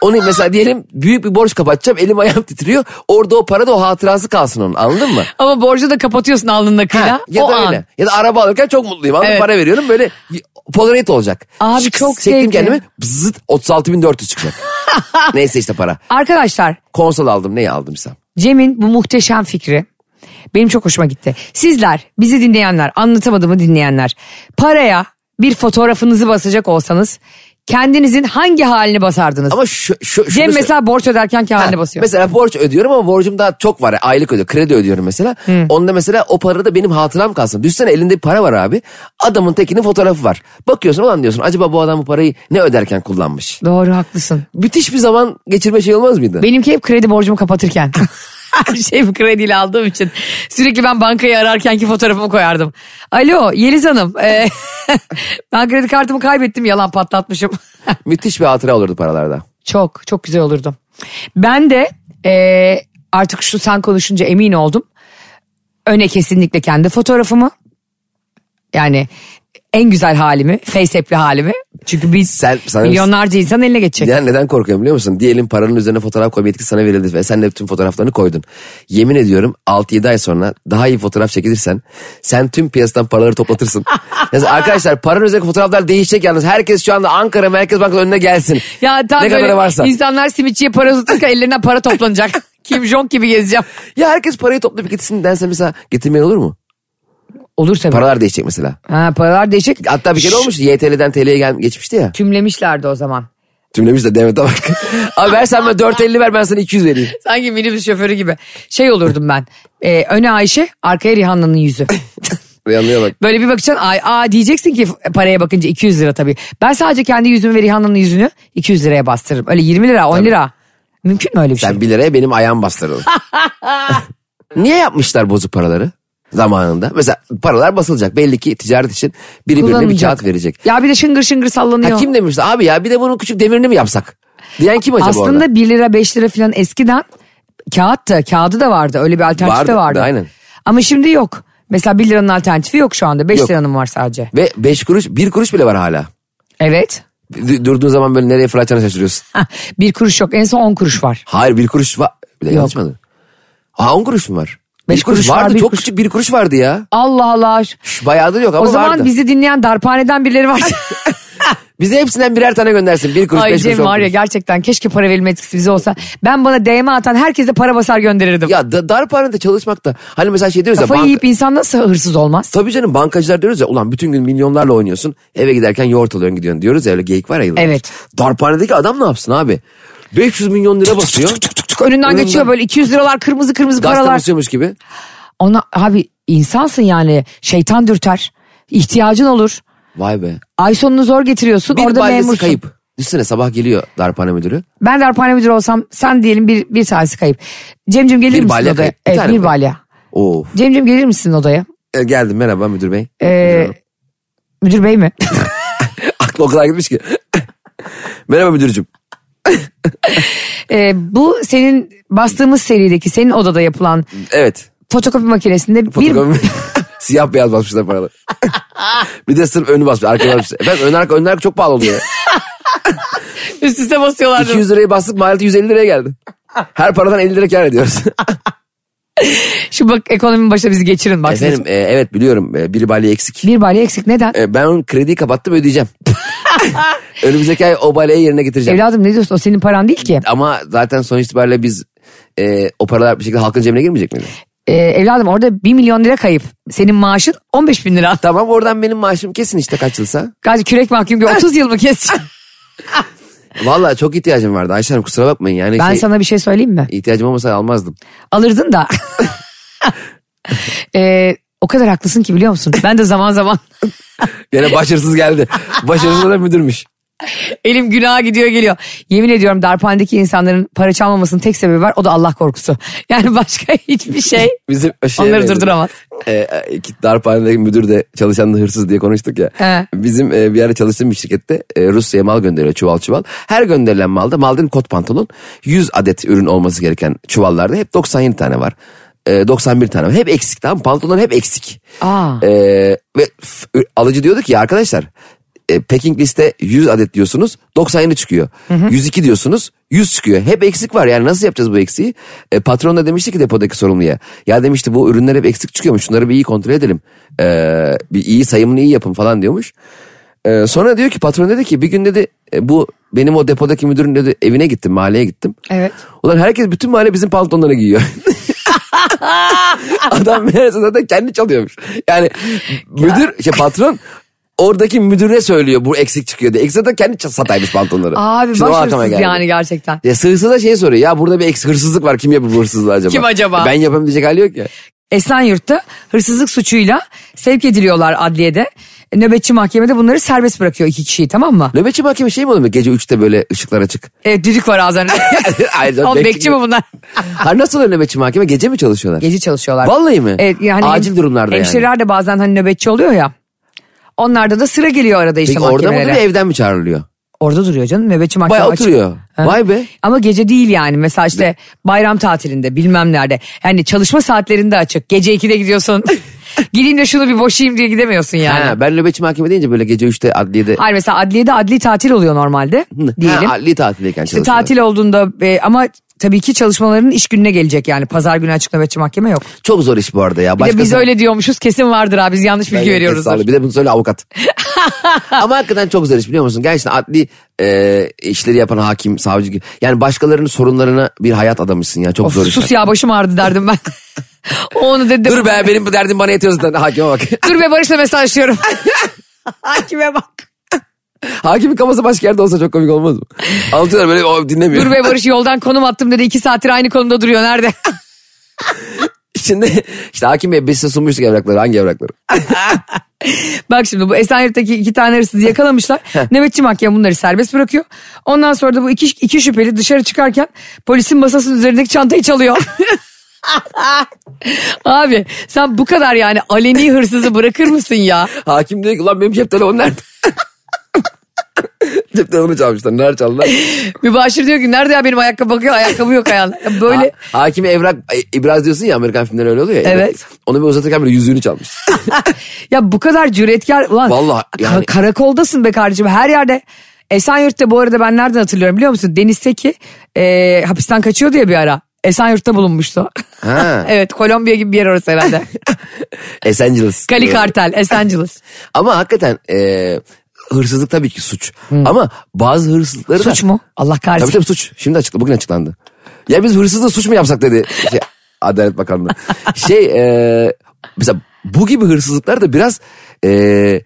Speaker 3: Onu mesela diyelim büyük bir borç kapatacağım elim ayağım titriyor. Orada o para da o hatırası kalsın onun anladın mı?
Speaker 2: Ama borcu da kapatıyorsun alnın akıyla.
Speaker 3: Ha, ya
Speaker 2: o
Speaker 3: da
Speaker 2: an.
Speaker 3: öyle. Ya da araba alırken çok mutluyum. Anladın mı?
Speaker 2: Evet.
Speaker 3: Para veriyorum böyle Polaroid olacak.
Speaker 2: Abi
Speaker 3: Şık,
Speaker 2: çok
Speaker 3: Çektim
Speaker 2: zevkli.
Speaker 3: kendimi bzzzt 36.400
Speaker 2: [LAUGHS]
Speaker 3: çıkacak. Neyse işte para.
Speaker 2: Arkadaşlar
Speaker 3: Konsol aldım neyi aldımsam.
Speaker 2: Cem'in bu muhteşem fikri benim çok hoşuma gitti. Sizler bizi dinleyenler anlatamadığımı dinleyenler paraya bir fotoğrafınızı basacak olsanız kendinizin hangi halini basardınız?
Speaker 3: Ama şu, şu, şunu
Speaker 2: Cem
Speaker 3: sö-
Speaker 2: mesela borç öderken ki haline
Speaker 3: Ha,
Speaker 2: basıyor.
Speaker 3: Mesela borç ödüyorum ama borcum daha çok var. Aylık ödüyorum. Kredi ödüyorum mesela. Onda mesela o para da benim hatıram kalsın. Düşsene elinde bir para var abi. Adamın tekinin fotoğrafı var. Bakıyorsun ulan diyorsun acaba bu adam bu parayı ne öderken kullanmış?
Speaker 2: Doğru haklısın.
Speaker 3: Müthiş bir zaman geçirme şey olmaz mıydı?
Speaker 2: Benimki hep kredi borcumu
Speaker 3: [LAUGHS]
Speaker 2: kapatırken. Her şeyi krediyle aldığım için. Sürekli ben bankayı ararken ki fotoğrafımı koyardım. Alo Yeliz Hanım. e, [LAUGHS] ben kredi kartımı kaybettim yalan patlatmışım. [LAUGHS]
Speaker 3: Müthiş bir hatıra olurdu paralarda.
Speaker 2: çok çok güzel olurdu. Ben de e, artık şu sen konuşunca emin oldum. Öne kesinlikle kendi fotoğrafımı. Yani en güzel halimi, face app'li halimi. Çünkü biz
Speaker 3: Sen- sana-
Speaker 2: milyonlarca insan eline geçecek.
Speaker 3: Yani neden korkuyorum biliyor musun? Diyelim paranın üzerine fotoğraf koyma yetkisi sana verildi ve sen de tüm fotoğraflarını koydun. Yemin ediyorum 6-7 ay sonra daha iyi fotoğraf çekilirsen sen tüm piyasadan paraları [LAUGHS] toplatırsın. Yani arkadaşlar paranın üzerine fotoğraflar değişecek yalnız. Herkes şu anda Ankara Merkez Bankası önüne gelsin.
Speaker 2: Ya tam
Speaker 3: ne
Speaker 2: böyle
Speaker 3: kadar varsa.
Speaker 2: insanlar simitçiye para uzatırken ellerine para
Speaker 3: [LAUGHS]
Speaker 2: toplanacak. Kim Jong gibi gezeceğim.
Speaker 3: Ya herkes parayı toplayıp gitsin dense mesela getirmeyen olur mu?
Speaker 2: Olur tabii.
Speaker 3: Paralar değişecek mesela.
Speaker 2: Ha, paralar değişik.
Speaker 3: Hatta bir kere
Speaker 2: Şş,
Speaker 3: olmuş YTL'den TL'ye gel geçmişti ya.
Speaker 2: Tümlemişlerdi o zaman.
Speaker 3: Tümlemiş de Demet'e bak. [LAUGHS] Abi ver sen bana 4.50 ver ben sana 200 vereyim.
Speaker 2: Sanki minibüs şoförü gibi. Şey olurdum ben. Ee, öne Ayşe, arkaya Rihanna'nın yüzü.
Speaker 3: Yanlıyor bak.
Speaker 2: Böyle bir bakacaksın. Ay, aa diyeceksin ki paraya bakınca 200 lira tabii. Ben sadece kendi yüzümü ve Rihanna'nın yüzünü 200 liraya bastırırım. Öyle 20 lira, 10 lira. Mümkün mü öyle bir şey?
Speaker 3: Sen 1 liraya benim
Speaker 2: [LAUGHS]
Speaker 3: ayağım bastırılır. Niye yapmışlar bozuk paraları? zamanında. Mesela paralar basılacak. Belli ki ticaret için biri birine bir
Speaker 2: Kullanılacak.
Speaker 3: kağıt verecek.
Speaker 2: Ya bir de şıngır şıngır sallanıyor.
Speaker 3: Ha, kim demiş abi ya bir de bunun küçük demirini mi yapsak? Diyen kim acaba
Speaker 2: Aslında
Speaker 3: orada?
Speaker 2: 1 lira 5 lira falan eskiden kağıt da kağıdı da vardı. Öyle bir alternatif de
Speaker 3: Vardı,
Speaker 2: vardı.
Speaker 3: aynen.
Speaker 2: Ama şimdi yok. Mesela 1 liranın alternatifi yok şu anda. 5
Speaker 3: Yok.
Speaker 2: liranın var sadece.
Speaker 3: Ve 5 kuruş 1 kuruş bile var hala.
Speaker 2: Evet.
Speaker 3: D- Durduğun zaman böyle nereye fırlatacağını şaşırıyorsun.
Speaker 2: Hah, bir kuruş yok. En son 10 kuruş var.
Speaker 3: Hayır 1 kuruş var. Bir de yanlış mı? anladım? Aa 10 kuruş mu var?
Speaker 2: Beş
Speaker 3: 5 kuruş,
Speaker 2: kuruş var,
Speaker 3: vardı
Speaker 2: bir
Speaker 3: çok
Speaker 2: kuruş-
Speaker 3: küçük 1 kuruş vardı ya.
Speaker 2: Allah Allah.
Speaker 3: Şş, Bayağı da yok ama
Speaker 2: o zaman
Speaker 3: vardı.
Speaker 2: bizi dinleyen darphaneden birileri var.
Speaker 3: [LAUGHS] Bize hepsinden birer tane göndersin. 1 kuruş 5
Speaker 2: Ay
Speaker 3: kuruş 10
Speaker 2: Cem var
Speaker 3: kuruş.
Speaker 2: ya gerçekten keşke para verilme etkisi bize olsa. Ben bana DM atan herkese para basar gönderirdim.
Speaker 3: Ya da, darphanede çalışmak da hani mesela şey diyoruz ya.
Speaker 2: Kafayı
Speaker 3: bank-
Speaker 2: yiyip insan nasıl hırsız olmaz?
Speaker 3: Tabii canım bankacılar diyoruz ya ulan bütün gün milyonlarla oynuyorsun eve giderken yoğurt alıyorsun gidiyorsun diyoruz ya öyle geyik var ya yıllardır.
Speaker 2: Evet.
Speaker 3: Darphanedeki adam ne yapsın abi? 500 milyon lira basıyor.
Speaker 2: Önünden geçiyor böyle 200 liralar kırmızı kırmızı
Speaker 3: Gazete
Speaker 2: paralar.
Speaker 3: basıyormuş gibi.
Speaker 2: Ona abi insansın yani şeytan dürter. İhtiyacın olur.
Speaker 3: Vay be.
Speaker 2: Ay sonunu zor getiriyorsun.
Speaker 3: Bir
Speaker 2: orada
Speaker 3: balyası
Speaker 2: memursun.
Speaker 3: kayıp. Düşsene sabah geliyor darphane müdürü.
Speaker 2: Ben darphane müdürü olsam sen diyelim bir, bir tanesi kayıp. Cemcim gelir
Speaker 3: Bir
Speaker 2: misin
Speaker 3: balya
Speaker 2: odaya?
Speaker 3: kayıp, bir
Speaker 2: evet,
Speaker 3: tane
Speaker 2: bir
Speaker 3: mi?
Speaker 2: balya.
Speaker 3: Of.
Speaker 2: Cemcim gelir misin odaya?
Speaker 3: E, geldim merhaba müdür bey. [LAUGHS]
Speaker 2: Ee, müdür bey mi? [LAUGHS]
Speaker 3: Aklı o kadar gitmiş ki. [LAUGHS] merhaba müdürcüm.
Speaker 2: Ee, bu senin bastığımız serideki senin odada yapılan
Speaker 3: Evet.
Speaker 2: fotokopi makinesinde bir
Speaker 3: Fotokopi- [LAUGHS] Siyah beyaz basmışlar paraları. [LAUGHS] bir de sırf önü basmış. Arka basmış. Efendim ön arka, ön arka çok
Speaker 2: [LAUGHS]
Speaker 3: pahalı oluyor.
Speaker 2: üst üste basıyorlardı.
Speaker 3: 200 liraya bastık maliyeti 150 liraya geldi. Her paradan 50 lira kar ediyoruz.
Speaker 2: Şu bak ekonominin başına bizi geçirin bak.
Speaker 3: Efendim e, evet biliyorum e, biri balya eksik.
Speaker 2: Bir balya eksik neden?
Speaker 3: E, ben onun krediyi
Speaker 2: [LAUGHS]
Speaker 3: kapattım ödeyeceğim. [LAUGHS] Önümüzdeki ay o balyayı yerine getireceğim.
Speaker 2: Evladım ne diyorsun o senin paran değil ki.
Speaker 3: Ama zaten sonuç itibariyle biz e, o paralar bir şekilde halkın cebine girmeyecek miydi?
Speaker 2: Ee, evladım orada 1 milyon lira kayıp. Senin maaşın 15 bin lira. [LAUGHS]
Speaker 3: Tamam oradan benim maaşım kesin işte kaç yılsa.
Speaker 2: Gazi kürek mahkum gibi 30 yıl mı kes?
Speaker 3: [LAUGHS] Valla çok ihtiyacım vardı Ayşe Hanım kusura bakmayın. Yani
Speaker 2: ben
Speaker 3: şey,
Speaker 2: sana bir şey söyleyeyim mi?
Speaker 3: ihtiyacım olmasa almazdım.
Speaker 2: Alırdın
Speaker 3: [LAUGHS]
Speaker 2: da. Ee, o kadar haklısın ki biliyor musun? Ben de zaman zaman [LAUGHS]
Speaker 3: Yine başarısız geldi. başarısız da müdürmüş.
Speaker 2: Elim günaha gidiyor geliyor. Yemin ediyorum darphanedeki insanların para çalmamasının tek sebebi var. O da Allah korkusu. [LAUGHS] Yani başka hiçbir şey
Speaker 3: Bizim şeye
Speaker 2: onları
Speaker 3: benziyor.
Speaker 2: durduramaz.
Speaker 3: e, e, ki darphanedeki müdür de çalışan da hırsız diye konuştuk ya.
Speaker 2: He.
Speaker 3: Bizim e, bir ara çalıştığım bir şirkette e, Rusya'ya mal gönderiyor çuval çuval. Her gönderilen malda mal değil kot pantolon 100 adet ürün olması gereken çuvallarda hep 97 tane var. E, 91 tane var. Hep eksik tamam mı? pantolon hep eksik.
Speaker 2: Aa.
Speaker 3: E, ve f- alıcı diyordu ki "Ya arkadaşlar e, packing liste 100 adet diyorsunuz 97 çıkıyor. 102 diyorsunuz 100 çıkıyor. Hep eksik var yani nasıl yapacağız bu eksiği? E, patron da demişti ki depodaki sorumluya. Ya demişti bu ürünler hep eksik çıkıyormuş şunları bir iyi kontrol edelim. E, bir iyi sayımını iyi yapın falan diyormuş. E, sonra diyor ki patron dedi ki bir gün dedi e, bu benim o depodaki müdürün dedi evine gittim mahalleye gittim.
Speaker 2: Evet.
Speaker 3: Ulan herkes bütün mahalle bizim
Speaker 2: [LAUGHS]
Speaker 3: paltonları giyiyor. Adam meğerse zaten kendi çalıyormuş. Yani müdür, şey patron oradaki müdüre söylüyor bu eksik çıkıyor diye. Eksik zaten kendi ça- sataymış pantolonları.
Speaker 2: Abi
Speaker 3: Şimdi o aklıma
Speaker 2: başarısız
Speaker 3: geldi.
Speaker 2: yani gerçekten.
Speaker 3: Ya sığırsa da şey soruyor ya burada bir eksik hırsızlık var kim yapıyor bu hırsızlığı acaba? E
Speaker 2: Kim acaba?
Speaker 3: Ben yapayım diyecek hali yok ya.
Speaker 2: Esenyurt'ta hırsızlık suçuyla sevk ediliyorlar adliyede. Nöbetçi mahkemede bunları serbest bırakıyor iki kişiyi tamam mı?
Speaker 3: Nöbetçi mahkeme şey mi oluyor gece 3'te böyle ışıklar açık? [LAUGHS]
Speaker 2: Evet düdük var [LAUGHS] ağzına.
Speaker 3: Hayır,
Speaker 2: Oğlum
Speaker 3: bekçi
Speaker 2: bekçi mi
Speaker 3: mi?
Speaker 2: bunlar?
Speaker 3: ha nasıl oluyor nöbetçi mahkeme gece mi çalışıyorlar?
Speaker 2: Gece çalışıyorlar.
Speaker 3: Vallahi mi?
Speaker 2: Evet, yani
Speaker 3: Acil durumlarda yani.
Speaker 2: Hemşireler de bazen hani nöbetçi oluyor ya. Onlarda da sıra geliyor arada işte
Speaker 3: Peki orada mı
Speaker 2: mahkemelere.
Speaker 3: duruyor evden mi çağrılıyor?
Speaker 2: Orada duruyor canım nöbetçi mahkeme
Speaker 3: Bayağı
Speaker 2: açık.
Speaker 3: oturuyor.
Speaker 2: Ha.
Speaker 3: Vay be.
Speaker 2: Ama gece değil yani mesela işte bayram tatilinde bilmem nerede. Yani çalışma saatlerinde açık. Gece 2'de
Speaker 3: [LAUGHS]
Speaker 2: gidiyorsun. Gireyim de şunu bir boşayayım diye gidemiyorsun yani.
Speaker 3: Ha, ben nöbetçi mahkeme deyince böyle gece 3'te adliyede
Speaker 2: Hayır mesela adliyede adli tatil oluyor normalde diyelim.
Speaker 3: Ha, adli tatildeyken
Speaker 2: İşte
Speaker 3: çalışıyorlar.
Speaker 2: tatil olduğunda e, ama tabii ki çalışmaların iş gününe gelecek yani. Pazar günü açık nöbetçi mahkeme yok.
Speaker 3: Çok zor iş bu arada ya.
Speaker 2: Bir de biz
Speaker 3: Başkası-
Speaker 2: öyle şey diyormuşuz kesin vardır abi biz yanlış bilgi
Speaker 3: Ben-
Speaker 2: veriyoruz.
Speaker 3: Sağ olun. Bir de bunu
Speaker 2: [LAUGHS]
Speaker 3: söyle avukat. Ama hakikaten çok zor iş biliyor musun? Gerçekten adli e, işleri yapan hakim, savcı gibi. Yani başkalarının sorunlarına bir hayat adamısın ya. Çok
Speaker 2: Of,
Speaker 3: zor iş.
Speaker 2: sus ya başım ağrıdı derdim
Speaker 3: [LAUGHS]
Speaker 2: ben. Onu dedi.
Speaker 3: Dur be benim bu derdim bana yetiyor zaten. Hakime bak. [LAUGHS]
Speaker 2: Dur be Barış'la mesajlaşıyorum. [LAUGHS] Hakime bak.
Speaker 3: Hakimin kafası başka yerde olsa çok
Speaker 2: [LAUGHS]
Speaker 3: komik olmaz mı? Anlatıyorlar böyle o dinlemiyor.
Speaker 2: Dur be Barış yoldan konum attım dedi. iki saattir aynı konumda duruyor. Nerede?
Speaker 3: [LAUGHS]
Speaker 2: [LAUGHS]
Speaker 3: Şimdi işte hakim bey biz size sunmuştuk evrakları. Hangi evrakları?
Speaker 2: Bak şimdi bu Esenyurt'taki iki tane hırsızı yakalamışlar. Nöbetçi mahkeme bunları serbest bırakıyor. Ondan sonra da bu iki, iki şüpheli dışarı çıkarken polisin masasının üzerindeki çantayı çalıyor. [LAUGHS] Abi sen bu kadar yani aleni hırsızı bırakır mısın ya?
Speaker 3: Hakim diyor ki ulan benim cep telefonu nerede? [LAUGHS] cep telefonu çalmışlar. Nerede çaldılar?
Speaker 2: Mübaşir diyor ki nerede ya benim ayakkabı bakıyor ayakkabı yok ayağında. Ya Böyle
Speaker 3: Ha, hakime evrak e, ibraz diyorsun ya Amerikan filmleri öyle oluyor ya.
Speaker 2: Evet.
Speaker 3: Onu bir uzatırken böyle yüzüğünü çalmış.
Speaker 2: ya bu kadar cüretkar ulan.
Speaker 3: Vallahi
Speaker 2: ka-
Speaker 3: yani-
Speaker 2: karakoldasın be kardeşim her yerde. Esenyurt'ta bu arada ben nereden hatırlıyorum biliyor musun? Deniz Seki e, hapisten kaçıyordu ya bir ara. Esenyurt'ta bulunmuştu.
Speaker 3: Ha.
Speaker 2: [LAUGHS] evet Kolombiya gibi bir yer orası
Speaker 3: [LAUGHS]
Speaker 2: herhalde.
Speaker 3: Los Angeles.
Speaker 2: Kali Kartel, Los Angeles.
Speaker 3: Ama hakikaten e, hırsızlık tabii ki suç. Ama bazı hırsızlıkları da...
Speaker 2: Hmm. Suç mu? Allah kahretsin.
Speaker 3: Tabii tabii suç. Şimdi açıkla, bugün açıklandı. Ya biz hırsızlığı suç mu yapsak
Speaker 2: [LAUGHS]
Speaker 3: dedi şey, Adalet Bakanlığı. Şey e, mesela bu gibi hırsızlıklar da biraz e,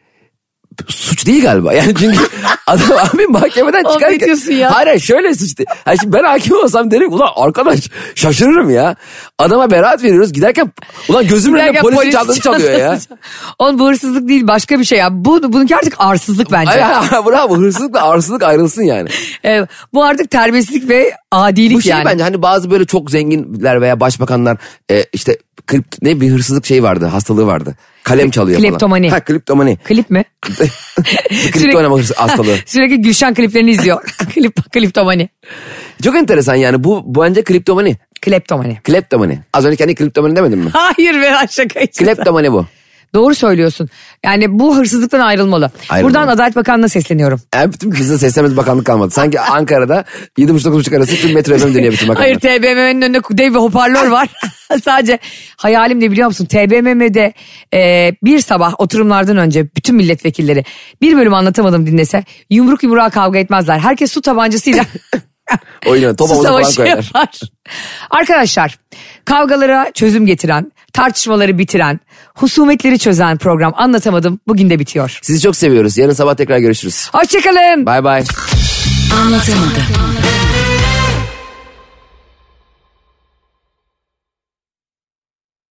Speaker 3: suç değil galiba. Yani
Speaker 2: [LAUGHS]
Speaker 3: çünkü adam abi mahkemeden
Speaker 2: Abi
Speaker 3: çıkarken.
Speaker 2: ne diyorsun ya?
Speaker 3: Hayır hayır, şöyle suç değil. Ha şimdi ben hakim olsam derim ulan arkadaş şaşırırım ya. Adama beraat veriyoruz giderken ulan gözümün önünde
Speaker 2: Giderken
Speaker 3: polisin
Speaker 2: polis [LAUGHS]
Speaker 3: çaldığını çalıyor ya.
Speaker 2: çantası- Oğlum bu hırsızlık değil başka bir şey ya. Bu, bununki artık arsızlık bence.
Speaker 3: Ay, ay, ay, [LAUGHS] bravo hırsızlıkla arsızlık ayrılsın yani.
Speaker 2: Evet, bu artık terbiyesizlik ve adilik
Speaker 3: Bu şey
Speaker 2: yani.
Speaker 3: bence hani bazı böyle çok zenginler veya başbakanlar e, işte kript, ne bir hırsızlık şey vardı hastalığı vardı. Kalem çalıyor
Speaker 2: kleptomani.
Speaker 3: falan.
Speaker 2: [LAUGHS]
Speaker 3: Ha kliptomani.
Speaker 2: Klip mi?
Speaker 3: Kripto oynama hırsı-
Speaker 2: [LAUGHS]
Speaker 3: hastalığı.
Speaker 2: Sürekli Gülşen kliplerini
Speaker 3: [LAUGHS]
Speaker 2: izliyor. Klip, kliptomani.
Speaker 3: Çok enteresan yani bu bence kriptomani.
Speaker 2: Kleptomani.
Speaker 3: Kleptomani. Az önce kendi kriptomani
Speaker 2: [LAUGHS]
Speaker 3: demedin mi?
Speaker 2: Hayır be lan şaka için.
Speaker 3: Kleptomani bu.
Speaker 2: Doğru söylüyorsun. Yani bu hırsızlıktan ayrılmalı.
Speaker 3: Ayrılmalı.
Speaker 2: Buradan Adalet Bakanlığı'na sesleniyorum.
Speaker 3: Yani bütün bizim seslemez bakanlık kalmadı. Sanki Ankara'da 7.30-9.30 arası tüm metro ödem dönüyor bütün bakanlık.
Speaker 2: Hayır TBMM'nin önünde dev bir hoparlör var. [LAUGHS] Sadece hayalim ne biliyor musun? TBMM'de e, bir sabah oturumlardan önce bütün milletvekilleri bir bölüm anlatamadım dinlese yumruk yumruğa kavga etmezler. Herkes su
Speaker 3: [LAUGHS]
Speaker 2: tabancasıyla
Speaker 3: Oynuyor. Top
Speaker 2: su
Speaker 3: havuza falan
Speaker 2: savaşı
Speaker 3: koyarlar.
Speaker 2: yapar. Arkadaşlar kavgalara çözüm getiren, tartışmaları bitiren, husumetleri çözen program anlatamadım bugün de bitiyor.
Speaker 3: Sizi çok seviyoruz. Yarın sabah tekrar görüşürüz.
Speaker 2: Hoşçakalın.
Speaker 3: Bay bay.
Speaker 4: Anlatamadım.